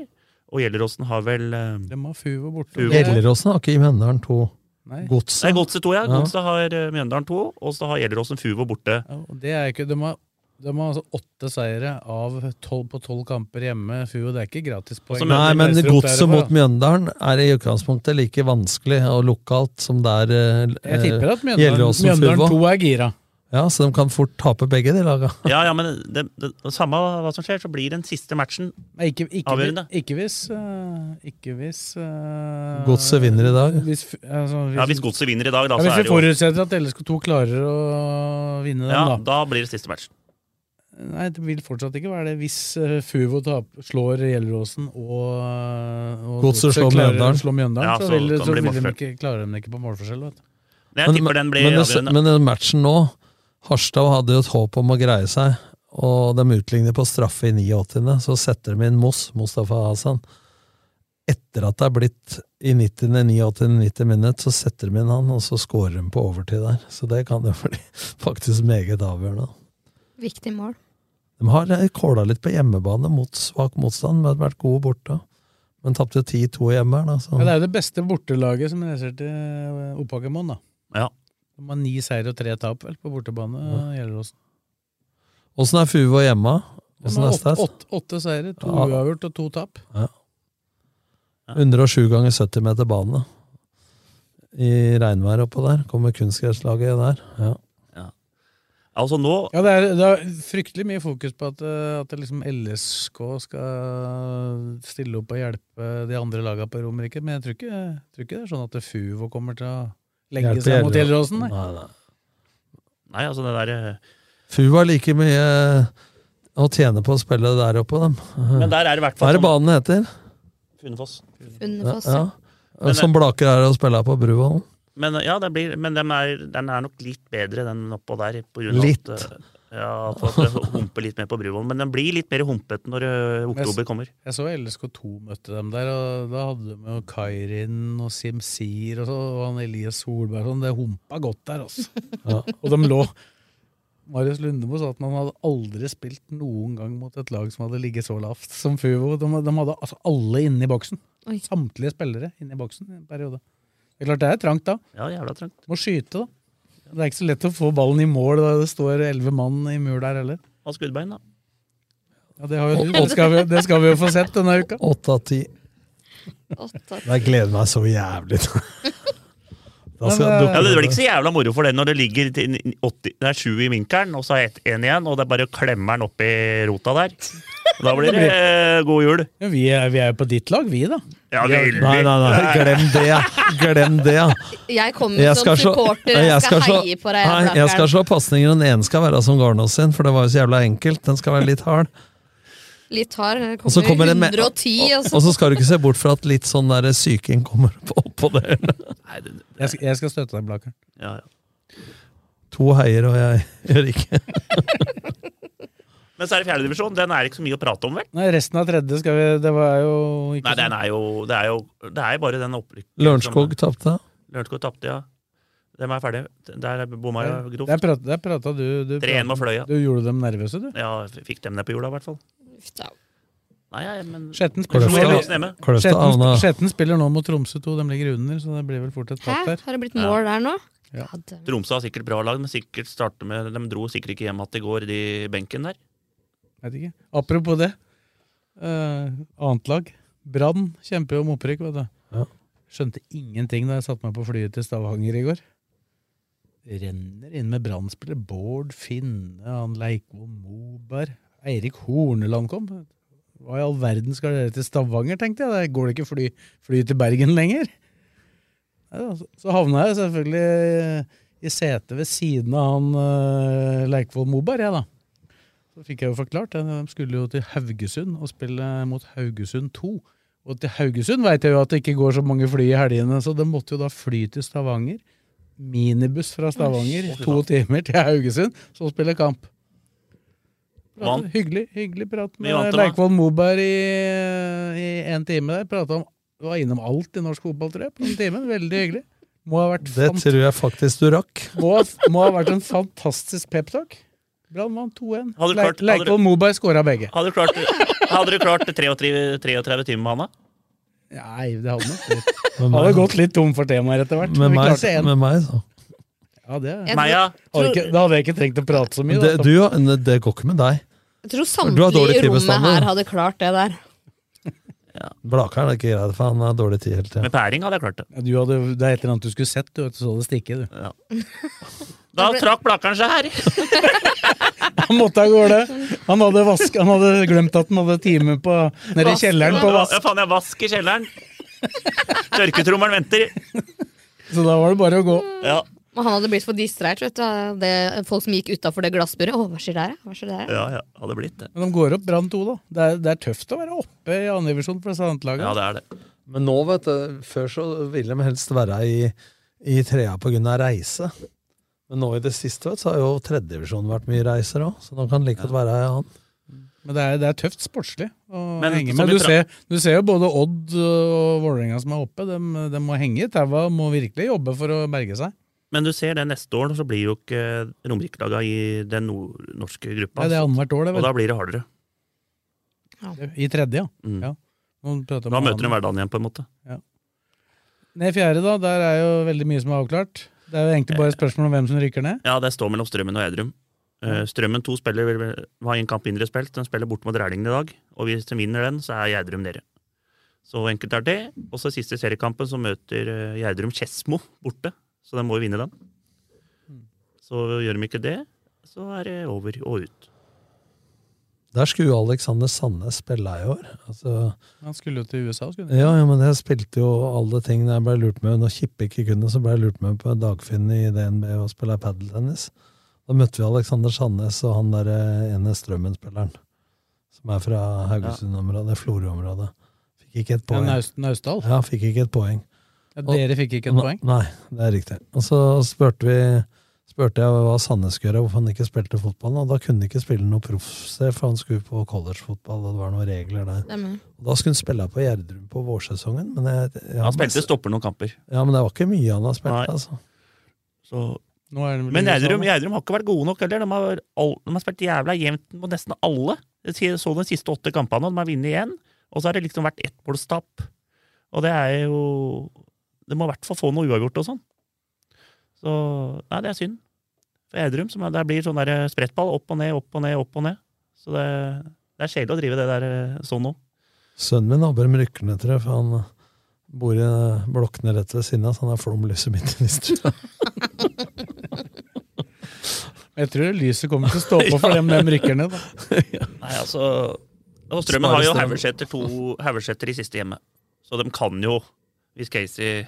S3: Og Gjelleråsen har vel eh,
S4: de har Fuvo borte.
S3: Fuvo.
S5: Gjelleråsen har ikke i Mjøndalen to. Godset.
S3: Nei, Godset 2, ja.
S5: Ja.
S3: Godset har eh, Mjøndalen 2, og så har Gjelleråsen Fuvo borte.
S4: Og Det er ikke, de har, de har altså åtte seire av 12, på tolv kamper hjemme. Fuo, det er ikke
S3: Altså,
S4: gratispoeng.
S5: Nei, men godset mot
S4: mye
S5: Mjøndalen er i utgangspunktet like vanskelig og lokalt som det er eh,
S4: Jeg tipper at Mjøndalen,
S5: Gjelleråsen
S4: Mjøndalen
S5: Fuvo.
S4: 2 er gira.
S5: Ja, så de kan fort tape begge de laga.
S3: Ja, ja, men det, det, det, samme hva som skjer, så blir den siste matchen
S4: Nei, ikke, ikke,
S3: avgjørende.
S4: Ikke hvis eh, Ikke hvis eh,
S5: Godset vinner i dag.
S4: Hvis, f- altså,
S3: Ja, Hvis Godset vinner i dag, da,
S4: ja,
S3: så
S4: hvis
S3: er
S4: vi
S3: det jo
S4: forutsetter at LSK2 klarer å vinne den,
S3: Ja,
S4: da.
S3: da blir det siste matchen.
S4: Nei, det vil fortsatt ikke være det. Hvis eh, Fuvo tap- slår Gjelleråsen og, eh, og
S5: Godset slår
S4: klarer å
S5: Mjøndalen.
S4: slå Mjøndalen,
S5: Ja,
S4: så,
S5: så
S4: vil,
S5: kan
S4: så
S5: det bli
S4: vil de
S5: målforskjell.
S4: ikke, klarer de det ikke på målforskjell. Vet du.
S3: Men jeg tipper den blir
S5: men, det-
S3: avgjørende.
S5: men den matchen nå Harstad hadde jo et håp om å greie seg, og de utligner på straffe i 89. Så setter de inn Moss, Mustafa Hasan. Etter at det er blitt i 90. 89. 90 minutt, så setter de inn han, og så scorer de på overtid der. Så det kan jo [LAUGHS] bli faktisk meget avgjørende.
S6: Viktig mål.
S5: De har kåla litt på hjemmebane mot svak motstand, men har vært gode borte. Men tapte 10-2 hjemme her, da. Så.
S4: Ja, det er jo det beste bortelaget som reiser til eh, Opphakkermoen, da.
S3: Ja.
S4: De har ni seier og tre tap vel, på bortebane, eh, Gjelleråsen.
S5: Åssen er Fuvo hjemme?
S4: De
S5: Åssen
S4: har
S5: er
S4: åtte,
S5: stats?
S4: åtte, åtte seire, to
S5: Ja.
S4: uavgjort og to tap.
S5: Ja. 107 ganger 70 meter bane i regnvær oppå der. Kommer kunstgresslaget der. Ja.
S3: Altså nå
S4: Ja, det er, det er fryktelig mye fokus på at, eh, at det liksom LSK skal stille opp og hjelpe de andre lagene på Romerike, men jeg tror ikke, jeg tror ikke det er sånn at det Fuvo kommer til å legge
S5: Hjelpe
S4: seg mot
S5: Gjelleråsen.
S4: Gjelleråsen. nei.
S3: Nei, altså det der eh,
S5: Fuvo har like mye eh, å tjene på å spille der oppe, dem.
S3: Men der er det i hvert fall
S5: Hva er det
S3: sånn-
S5: banen heter?
S3: Funnefoss.
S6: Funnefoss,
S5: ja.
S3: Men-
S5: Som Blaker er å spille på Bruvollen.
S3: Men eh, ja, det blir, men dem er, den er nok litt bedre, den oppå der. På grunn av
S5: Litt.
S3: At, eh, ja, for at det humper litt mer på Bruvollen. Men den blir litt mer humpete når eh, oktober kommer.
S4: Jeg så LSK2 møtte dem der, og da hadde de jo Kairin og Simsir og, så, og han Elias Solberg og sånn. Det humpa godt der, altså.
S5: Ja.
S4: [LAUGHS] Og de lå Marius Lundemo sa at man hadde aldri spilt noen gang mot et lag som hadde ligget så lavt som Fuvo. De, de hadde altså alle inne i boksen. Samtlige spillere inne i boksen i en periode. Det er klart det er trangt da.
S3: Ja, jævla trangt.
S4: Må skyte, da. Det er ikke så lett å få ballen i mål da det står elleve mann i mur der heller.
S3: Og skuddbein, da.
S4: Ja, det, har jo du. Det, skal vi, det skal vi jo få sett denne uka.
S5: Åtte av ti. Jeg gleder meg så jævlig. [LAUGHS] da skal jeg
S3: ja,
S5: dukke
S3: det blir
S5: opp.
S3: ikke så jævla moro for den når det ligger til 80, det er sju i vinkelen, og så er ett én igjen, og det er bare å klemme den oppi rota der. Og Da blir det eh, god jul.
S4: Ja, vi, er, vi er jo på ditt lag, vi, da.
S3: Ja,
S5: Nei,
S3: veldig.
S5: nei, nei, glem det! ja. Glem det, ja.
S6: Jeg kommer som sånn supporter, jeg, skal, heie på deg.
S5: Nei, jeg skal slå pasninger, og den ene skal være som Garnås sin, for det var jo så jævla enkelt. Den skal være litt hard.
S6: Litt hard. jeg
S5: Og så
S6: Kommer,
S5: kommer det med-
S6: 110, og altså. så
S5: Og så skal du ikke se bort fra at litt sånn der syking kommer på- oppå der.
S4: Jeg skal, jeg skal støtte deg, Blaker.
S3: Ja,
S5: To heier, og jeg gjør ikke.
S3: Men så er det fjerdedivisjon. Den er ikke så mye å prate om, vel?
S4: Nei, resten av tredje skal vi Det var jo ikke
S3: Nei, den er jo Det er jo, det er jo bare den opprykket.
S5: Lørenskog tapte.
S3: Lørenskog tapte, ja. Dem er ferdige. Der bomma jo
S4: Der
S3: grovt.
S4: prata, der prata du, du
S3: 3-1 med Fløya.
S4: Du gjorde dem nervøse, du.
S3: Ja, fikk dem ned på jorda, i hvert fall. Nei, ja, men
S4: Skjetten
S3: Kløfta-
S4: spiller,
S3: Kløfta-
S4: Skjetten-
S3: Kløfta havna-
S4: Skjetten spiller nå mot Tromsø 2, de ligger under, så det blir vel fort et tap
S6: Hæ?
S4: der.
S6: Har det blitt mål der nå?
S4: Ja.
S3: Tromsø har sikkert bra lag, men sikkert starter med De dro sikkert ikke hjem igjen i går, de benken der.
S4: Vet ikke. Apropos det, eh, annet lag. Brann kjemper jo om opprykk, vet du.
S5: Ja.
S4: Skjønte ingenting da jeg satte meg på flyet til Stavanger i går. Renner inn med Brann-spillere. Bård Finne, han Leikvoll Moberg. Eirik Horneland kom. Hva i all verden skal dere til Stavanger, tenkte jeg. Der går det ikke fly, fly til Bergen lenger. Nei da, så- Så havna jeg selvfølgelig i setet ved siden av han eh, Leikvoll Moberg, jeg, da. Så fikk jeg jo forklart det. De skulle jo til Haugesund og spille mot Haugesund 2. Og til Haugesund vet jeg jo at det ikke går så mange fly i helgene, så de måtte jo da fly til Stavanger. Minibuss fra Stavanger,
S5: Å, shit.
S4: to timer til Haugesund, så spille kamp. Pratet-
S3: Vant.
S4: Hyggelig, hyggelig prat
S3: Vi vant
S4: med
S3: det, da.
S4: Leikvoll Moberg i, i en time der. Pratet om, var innom alt i norsk fotball, tror jeg, på den timen. Veldig hyggelig. Må ha vært,
S5: Det
S4: fant-
S5: tror jeg faktisk du rakk.
S4: må, ha- må ha vært en fantastisk peptalk. Brann vant 2-1.
S3: Hadde du
S4: Leik-
S3: klart- hadde du-
S4: Leikvoll Moberg skåra begge.
S3: Hadde du klart, hadde du klart 33, 33 timer med Hanna?
S4: Nei, det hadde [LAUGHS] nok litt.
S5: Men
S4: Hadde
S5: meg-
S4: gått litt tom for temaer etter hvert.
S5: Med
S4: men vi
S5: meg,
S4: klarte én.
S5: med meg så.
S4: Ja, det
S6: Jeg
S4: Nei, ja.
S6: tror-
S4: hadde ikke, da hadde jeg ikke trengt å prate så mye.
S5: Det,
S4: da.
S5: du, det går ikke med deg.
S6: Jeg tror
S5: Du har
S6: samtlige
S5: dårlig
S6: i rommet
S5: timebestander.
S6: her hadde klart det der.
S5: Blakeren er ikke greit, for han har dårlig tid hele tida.
S3: Med pæring hadde jeg klart det.
S4: Ja, du hadde, det er et eller annet du skulle sett, du, vet du, så det
S5: [LAUGHS]
S4: stikke. Du.
S3: Da trakk Blakkaren seg her!
S4: Han måtte av gårde. Han hadde, vask, han hadde glemt at han hadde time på, nede i kjelleren på vask.
S3: Ja, faen, jeg vask i
S4: [LAUGHS]
S3: kjelleren! Tørketrommelen venter.
S4: Så da var det bare å gå.
S3: Ja,
S6: Men han hadde blitt for distrahert, vet du. av Det, folk som gikk utafor det glassburet. Å, hva skjer der, ja? hva skjer der? ja?
S3: ja, ja hadde blitt det.
S4: Men de går opp Brann 2, da. Det er, det er tøft å være oppe i andre divisjon for Strandlaget.
S3: Ja, det er det.
S5: Men nå, vet du, før så ville de helst være i, i trea på grunn av reise. Men nå i det siste vet, du, så har jo tredjedivisjonen vært mye reiser òg, så nå kan det like godt være i annen.
S4: Men det er, det er tøft sportslig å
S5: Men
S4: henge
S5: som
S4: med.
S5: vi
S4: Du
S5: tra-
S4: ser, du ser jo både Odd og Vålerenga som er oppe. De, de må henge i taua, må virkelig jobbe for å berge seg.
S3: Men du ser det neste år, så blir jo ikke eh, Romerikelaga i den nordnorske gruppa. altså.
S4: Ja, det er annethvert år, det, vel.
S3: Og da blir det hardere.
S4: I tredje, ja.
S5: Mm.
S4: ja. Nå prater
S3: Da
S4: vi om
S3: møter de
S4: annen.
S3: hverdagen igjen, på en måte.
S4: Ned i fjerde, da. Der er jo veldig mye som er avklart. Det er jo egentlig bare et spørsmål om hvem som rykker ned.
S3: Ja, det står mellom Strømmen og Edrum. Eh, Strømmen to spiller vel- vel- har en kamp mindre spilt, den spiller bort mot Rælingen i dag. Og hvis de vinner den, så er Gjerdrum nede. Så enkelt er det. Og så siste seriekampen, så møter eh, Gjerdrum Skedsmo borte. Så de må jo vinne den.
S4: Hmm.
S3: Så gjør de ikke det, så er det over og ut.
S5: Der skulle jo Alexander Sandnes spille i år. Altså,
S4: Han skulle jo til USA, skulle han ikke?
S5: ja, ja, men jeg spilte jo alle ting jeg ble lurt med. Når Kippe ikke kunne, så ble jeg lurt med på Dagfinn i DNB og spille padeltennis. Da møtte vi Alexander Sandnes og han der eh, ene Strømmen-spilleren. Som er fra Haugesund-området, Florø-området. Fikk ikke et
S4: Ja,
S5: poeng.
S4: Naust- Naustdal?
S5: Ja, fikk ikke et poeng.
S4: Ja,
S5: Og-
S4: dere fikk ikke et
S5: Ne-
S4: poeng?
S5: Nei, det er riktig. Og så spurte vi spurte jeg hva Sandnes skulle gjøre, hvorfor han ikke spilte fotball. Og da kunne han ikke spille noe proffsted, for han skulle på collegefotball, og det var noen regler der.
S6: Stemmer.
S5: Og da skulle han spille på Gjerdrum på vårsesongen, men jeg, jeg,
S3: Han spilte stopper noen kamper.
S5: Ja, men det var ikke mye han har spilt,
S3: Nei.
S5: altså.
S3: Så
S4: Nå er sånn. det vel
S3: Men
S4: i USA,
S3: Gjerdrum
S4: da.
S3: Gjerdrum har ikke vært gode nok heller. De har, all, de har spilt jævla jevnt mot nesten alle. Jeg så de siste åtte kampene, og de har vunnet igjen. Og så har det liksom vært ettmålstap. Og det er jo De må i hvert fall få noe uavgjort og sånn. Så Nei, det er synd. For Gjerdrum som er- der blir sånn der sprettball. Opp og ned, opp og ned, opp og ned. Så det, det er kjedelig å drive det der eh, sånn nå.
S5: Sønnen min håper de rykker ned, tror jeg, for han eh, bor i eh, blokkene rett ved siden av, så han har flom lyset midt i nistra.
S4: Jeg tror lyset
S3: [LAUGHS]
S4: kommer til å stå på for dem de rykker ned. Da.
S3: Nei, altså og Strømmen har jo
S4: Spare strøm.
S3: Haugeseter [LAUGHS] to Haugeseter i siste hjemme. Så de kan jo, hvis Casey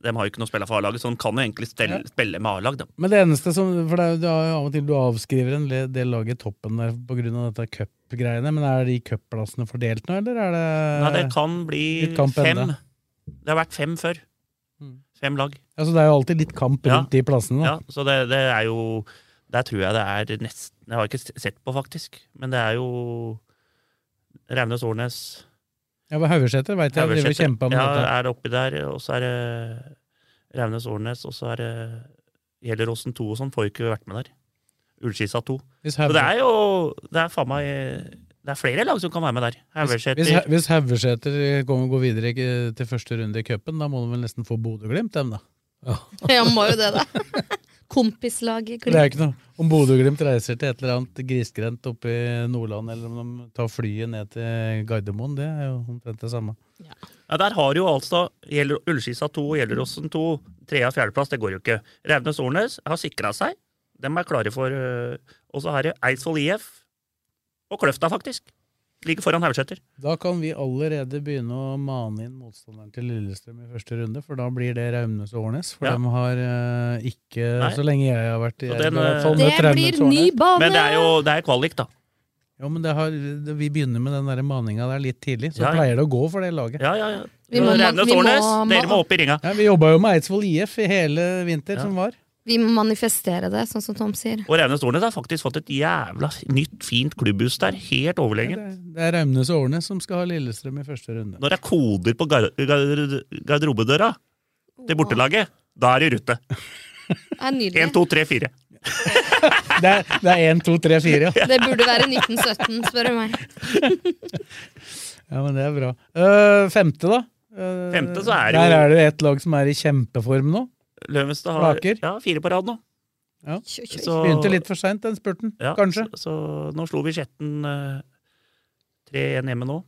S3: De har jo ikke noe å spille for A-laget, så de kan jo egentlig stelle, spille med A-lag, de.
S4: Men det eneste som For det er, jo- det er jo av og til du avskriver en le- del lag i toppen der pga. dette cupgreiene, men er de cupplassene fordelt nå, eller er det
S3: Nei, det kan bli
S4: Eh, litt kamp
S3: fem.
S4: enda?
S3: Det har vært fem før. Fem lag.
S4: Altså, det er jo alltid litt kamp
S3: Ja.
S4: rundt de plassene, da.
S3: Ja, så det, det er jo Der tror jeg det er nesten Jeg har ikke sett på, faktisk, men det er jo Raunes Årnes
S4: Ja, men Haugeseter veit jeg driver og
S3: Haugeseter.
S4: kjemper med
S3: ja,
S4: dette.
S3: er oppi der, og så er det Raunes Årnes, og så er det Gjelleråsen 2 og sånn, får jo ikke vært med der. Ullskissa 2.
S4: Hvis
S3: Så
S4: Hauge-
S3: det er jo Det er faen meg Det er flere lag som kan være med der. Haugeseter
S4: Hvis, hvis Haugeseter kommer- går videre ikke til første runde i cupen, da må de vel nesten få Bodø-Glimt, dem, da.
S6: Ja, må jo det, da. [LAUGHS] Kompislaget.
S4: Det er jo ikke noe. Om Bodø-Glimt reiser til et eller annet grisgrendt oppe i Nordland, eller om de tar flyet ned til Gardermoen, det er jo omtrent det samme.
S3: Ja, der har jo altså Gjeller- Ullskissa 2 og Gjelleråsen 2 tredje- og fjerdeplass. Det går jo ikke. Raunes Ornes har sikra seg. Dem er klare for øh, Og så har det Eidsvoll IF og Kløfta, faktisk. Ligger foran Haugeseter.
S4: Da kan vi allerede begynne å mane inn motstanderen til Lillestrøm i første runde, for da blir det Raunes og Årnes. For
S3: Ja.
S4: de har eh, ikke,
S3: Nei.
S4: så eh, lenge jeg har vært i
S3: Så
S4: Jerv,
S3: den,
S4: i hvert fall,
S3: øh,
S4: møtt Raunes og Årnes.
S3: Men det er jo det er kvalik, da.
S4: Ja, men det har, det, vi begynner med den der maninga der litt tidlig, så
S3: Ja, ja.
S4: pleier det å gå for det laget.
S3: Ja, ja, ja.
S4: Vi må-
S3: Raunes
S4: vi må-
S3: Ornes, dere må opp i ringa.
S4: Ja, vi jobba jo med Eidsvoll IF i hele vinter
S3: Ja.
S4: som var.
S6: Vi må manifestere det, sånn som Tom sier.
S3: Og Reine Stornes har faktisk fått et jævla nytt, fint klubbhus der. Helt overlegent.
S4: Det er Raumnes og Årnes som skal ha Lillestrøm i første runde.
S3: Når det er koder på gar gar garderobedøra til bortelaget, da er det i rute.
S6: Det er nydelig.
S3: 1, 2, 3, 4.
S4: Det er, det er 1, 2, 3,
S3: [LAUGHS]
S4: 4, ja.
S6: Det burde være 1917, spør du meg.
S4: ja men det er bra. Øh, femte, da? Øh,
S3: Femte så er det
S4: Der
S3: jo-
S4: er det jo et lag som er i kjempeform nå.
S3: Løvenstad har
S4: Blaker.
S3: ja, fire på rad nå.
S4: Ja.
S3: Så-
S4: Begynte litt for seint, den spurten.
S3: Ja,
S4: Kanskje.
S3: Så, så nå slo vi Skjetten eh, 3-1 hjemme nå.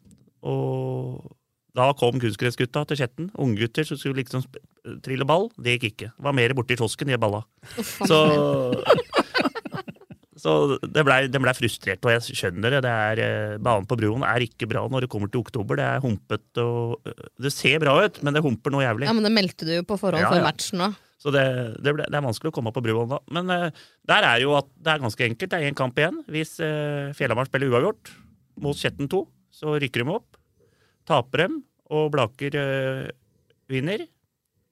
S3: Og da kom kunstgressgutta til Skjetten. Unggutter som skulle liksom sp- trille ball. Det gikk ikke. Det var mer borti kiosken, de balla.
S10: faen.
S3: Så så det blei det ble frustrert, og jeg skjønner det. det er, eh, banen på Broen er ikke bra når det kommer til oktober. Det er humpete og eh, Det ser bra ut, men det humper noe jævlig.
S6: Ja, men det meldte du jo på forhånd
S3: Ja,
S6: for
S3: ja.
S6: matchen òg.
S3: Så det, det, ble, det er vanskelig å komme opp på Bruvoll da. Men eh, der er jo at det er ganske enkelt. Det er én kamp igjen. Hvis uh, Fjellhamar spiller uavgjort mot Skjetten 2, så rykker de opp. Taper dem, og Blaker eh, vinner.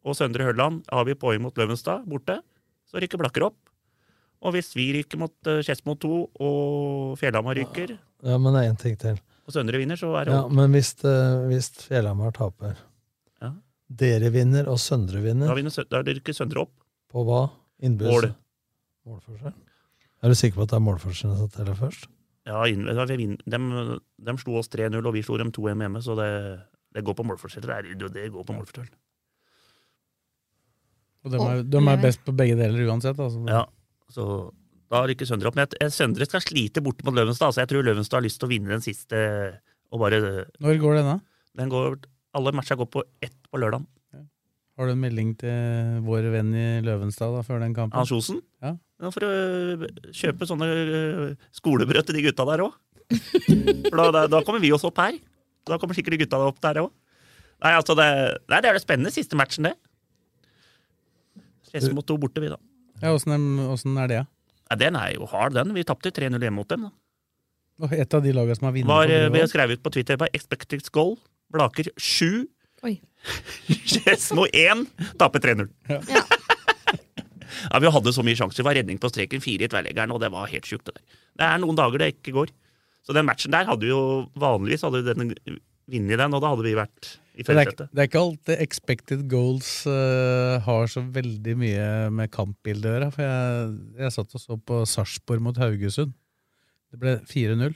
S3: Og Søndre Hørland avgir poeng mot Løvenstad borte. Så rykker Blaker opp. Og hvis vi ryker mot uh, Skedsmo 2, og Fjellhamar ryker,
S5: Ja, men det er én ting til.
S3: og Søndre vinner, så er det
S5: Ja, men hvis, det, hvis Fjellhamar taper
S3: Ja.
S5: Dere vinner, og Søndre
S3: Da,
S5: vinner.
S3: vinner, Sø- da rykker Søndre opp.
S5: På hva? Innbyrdes?
S3: Mål.
S5: Målforskjell? Er du sikker på at det er målforskjellen som teller først?
S3: Ja, inn- ja, vi vin- dem- dem slo oss 3-0, og vi slo dem 2-1 hjemme, E, så det, det går på målforskjell. Det, er- det- det går på målforskjell.
S4: Og de er, de er best på begge deler uansett. Altså.
S3: Ja, så da rykker Søndre opp. Men jeg, jeg, Søndre skal slite borte mot Løvenstad, så jeg tror Løvenstad har lyst til å vinne den siste. og bare...
S4: Når går den, da?
S3: Den går, alle matcha går på ett på lørdag.
S4: Har du en melding til vår venn i Løvenstad da, før den kampen?
S3: Hans Osen?
S4: Ja.
S3: Nå får du øh, kjøpe sånne øh, skolebrød til de gutta der òg. For da, da, da kommer vi oss opp her. Da kommer sikkert de gutta opp der òg. Nei, altså det, nei, det er det spennende siste matchen, det. Stresse mot to borte, vi, da.
S4: Ja, Åssen er- åssen er det? da?
S3: Nei, den er jo hard, den. Vi tapte 3-0 hjemme mot dem. da.
S4: Og Et av de lagene som har vunnet?
S3: Var,
S4: på
S3: øh, vi
S4: Grønland.
S3: skrev ut på Twitter var expected goal. Blaker 7. [LAUGHS]
S6: Oi.
S3: Skedsmo 1. Taper 3-0.
S4: Ja.
S3: Ja, Vi hadde så mye sjanser. Det var redning på streken, fire i tverrleggeren, og det var helt sjukt. Det, der. det er noen dager det ikke går. Så den matchen der hadde vi jo vanligvis hadde vi den, vunnet den, og da hadde vi vært i
S4: Så det, er, ikke-
S3: førersetet.
S4: det er ikke alltid expected goals eh, har så veldig mye med kampbildet å gjøre. For jeg, jeg satt og så på Sarpsborg mot Haugesund. Det ble 4-0.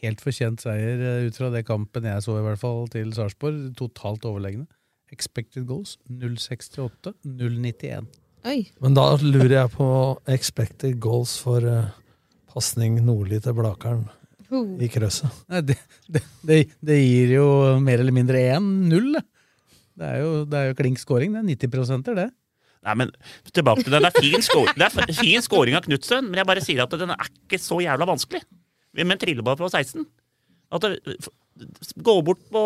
S4: Helt fortjent seier eh, ut fra det kampen jeg så, i hvert fall, til Sarpsborg. Totalt overlegne. Expected goals 068, 091.
S6: Oi.
S5: Men da lurer jeg på expected goals for uh, pasning nordlig til Blakeren
S6: Ho.
S5: i krøsset.
S4: Nei, det, det, det, det gir jo mer eller mindre 1-0. det. Det er jo, det er jo klink scoring, det. 90 det.
S3: Nei, men tilbake til den. Det er fin, skår, det er fin scoring av Knutsen, men jeg bare sier at den er ikke så jævla vanskelig. Men trilleball på 16 at det, Gå bort på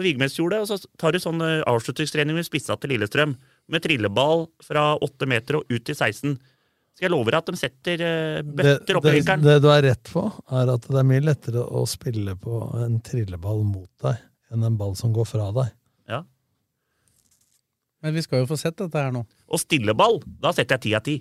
S3: Vigmesjordet, og så tar du sånn eh, avslutningstrening med spissa til Lillestrøm. Med trilleball fra åtte meter og ut til 16. Skal jeg love deg at de setter eh,
S5: Det,
S3: bøtter opp i
S5: det,
S3: vinkelen?
S5: det du er rett på, er at det er mye lettere å spille på en trilleball mot deg enn en ball som går fra deg.
S4: Men vi skal jo få sett dette her nå.
S3: Og stilleball, da setter jeg ti av ti.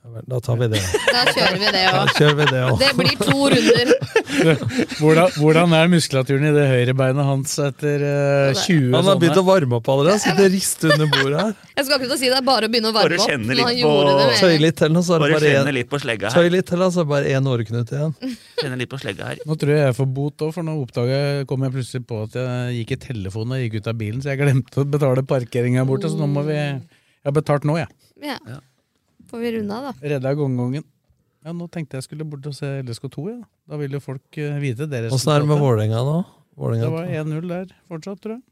S5: Ja vel, Da tar vi det.
S3: [LAUGHS]
S6: Da kjører vi det
S5: Da
S6: òg.
S5: kjører vi det òg.
S6: Det blir to runder.
S4: Hvordan, hvordan er muskulaturen i det høyrebeinet hans etter eh, 20
S5: Han har begynt å
S4: sånne?
S5: varme opp allerede. Han Sitter og rister under bordet her.
S6: Jeg skal ikke til å si det, det er bare å begynne å varme
S3: Bare
S6: opp.
S3: kjenne
S6: men
S3: litt
S6: han
S3: på-
S6: gjorde det med-
S5: Tøy litt til, og så er det
S3: Bare
S5: bare
S3: kjenne
S5: en-
S3: litt på slegga her.
S5: Tøy litt til, og så er det bare én åreknut igjen.
S3: Kjenner litt på slegga her.
S4: Nå tror jeg jeg får bot òg, for nå oppdaga jeg, kom jeg plutselig på at jeg gikk i telefonen og gikk ut av bilen, så jeg glemte å betale parkeringa borte, så nå må vi Jeg har betalt nå, jeg.
S6: Ja. Får vi runde av, da?
S4: Redda gongongen. Ja, nå tenkte jeg skulle bort og se LSK2, ja. Da vil jo folk eh, vite det
S5: Åssen er det med Vålerenga nå? Vålerenga-
S4: Det var 1-0 der fortsatt, tror jeg.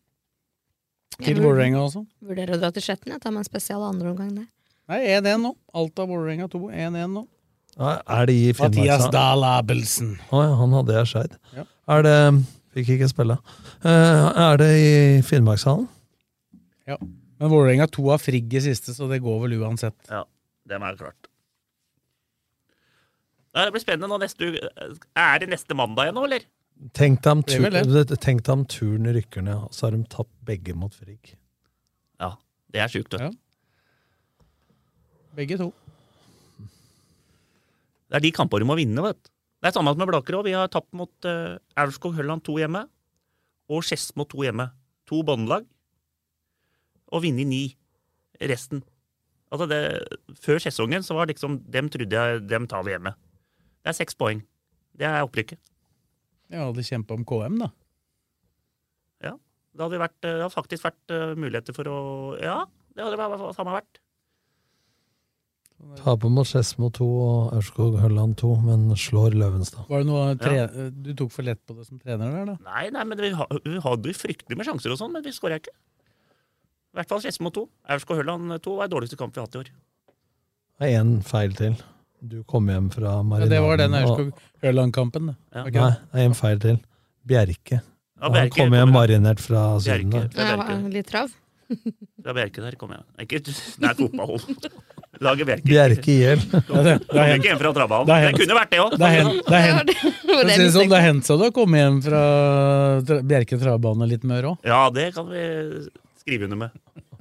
S6: Jeg
S4: Til
S6: vurderer-
S4: Vålerenga også.
S6: Vurderer å dra til Skjetten. Jeg tar meg en spesial andre omgang der.
S4: Nei, 1-1 nå. Alta Vålerenga 2, 1-1 nå.
S5: Ja, Er det i Finnmark?
S4: Mathias
S5: da?
S4: Dahl Abelsen.
S5: Å ja, han hadde jeg skeid.
S4: Ja.
S5: Er det Fikk ikke spille. Eh, er det i Finnmarkshallen?
S4: Ja. Men Vålerenga 2 har frigg i siste, så det går vel uansett.
S3: Ja, det er klart. Nei, Det blir spennende nå neste uke. Er det neste mandag igjen nå, eller?
S5: Tenk deg om,
S3: Det er vel
S5: tur, tenk deg om turen rykker ned, og så har de tapt begge mot Frigg.
S3: Ja, det er sjukt, vet du.
S4: Begge to.
S3: Det er de kampene du må vinne, vet du. Det er samme med Blaker òg. Vi har tapt mot uh, Aurskog Hølland 2 hjemme og Skedsmo 2 hjemme. To båndlag. Og vunnet ni. Resten. Altså det, før sesongen så var liksom Dem trodde jeg dem tar vi hjemme. Det er seks poeng. Det er opprykket.
S4: Jeg hadde kjempa om KM, da.
S3: Ja. Det hadde, vært, det hadde faktisk vært eh, muligheter for å Ja, det hadde vært- faen meg vært.
S5: Taper mot Skedsmo 2 og Aurskog-Hølland 2, men slår Løvenstad.
S4: Var det noe tre
S3: Ja.
S4: Du tok for lett på det som trener der, da?
S3: Nei, nei, men vi, ha, vi hadde jo fryktelig med sjanser og sånn, men vi skåra ikke. I hvert fall Skedsmo 2. Aurskog Hølland 2 var den dårligste kampen vi har hatt i år.
S5: Det er én feil til. Du kom hjem fra Marinaden.
S4: det var den
S5: og-
S4: Aurskog-Hørland-kampen, det.
S3: Ja.
S4: Var ikke
S5: Nei,
S4: det?
S5: det er en feil til. Bjerke.
S3: Ja,
S5: Han
S3: Bjerke
S5: kom hjem marinert fra Syden der.
S3: Det er Bjerke.
S6: Ja, litt trav.
S3: Det er Bjerke der, kom igjen. Ikke, [LAUGHS] det er fotball. Laget Bjerke.
S5: Bjerke IL.
S4: Ja, det- det
S3: Kom
S4: har
S3: ikke
S4: hendt.
S3: hjem fra Drabbanen.
S4: Det har
S3: Det
S4: hendt.
S3: kunne vært det òg.
S4: Det har hendt- det har [LAUGHS] hendt.
S6: var [LAUGHS] det
S4: Jeg
S6: jeg
S4: synes sånn, Det har hendt så du har kommet hjem fra tra Bjerke travbane litt mer òg.
S3: Ja, det kan vi skrive under med.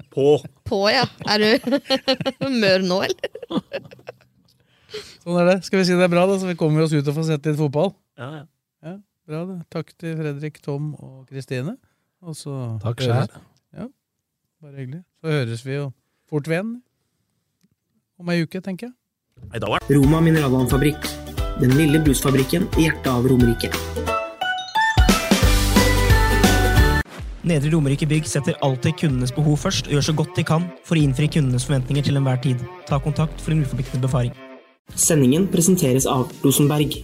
S3: På.
S6: På, ja. Er du [LAUGHS] mør nå, eller?
S4: Sånn er det. Skal vi si det er bra, da, så vi kommer oss ut og får sett litt fotball?
S3: Ja, ja.
S4: Ja, bra det. Takk til Fredrik, Tom og Kristine. Og så
S5: [LAUGHS] Takk
S4: høres-
S5: selv.
S4: Ja, bare hyggelig. Så høres vi jo fort ved igjen om ei uke, tenker jeg.
S1: Roma mineralvannfabrikk. Den lille brusfabrikken i hjertet av Romerike.
S9: Nedre Romerike Bygg setter alltid kundenes behov først og gjør så godt de kan for å innfri kundenes forventninger til enhver tid. Ta kontakt for en uforpliktende befaring.
S1: Sendingen presenteres av Rosenberg.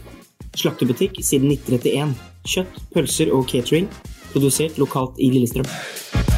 S1: Slaktebutikk siden 1931. Kjøtt, pølser og catering. Produsert lokalt i Lillestrøm.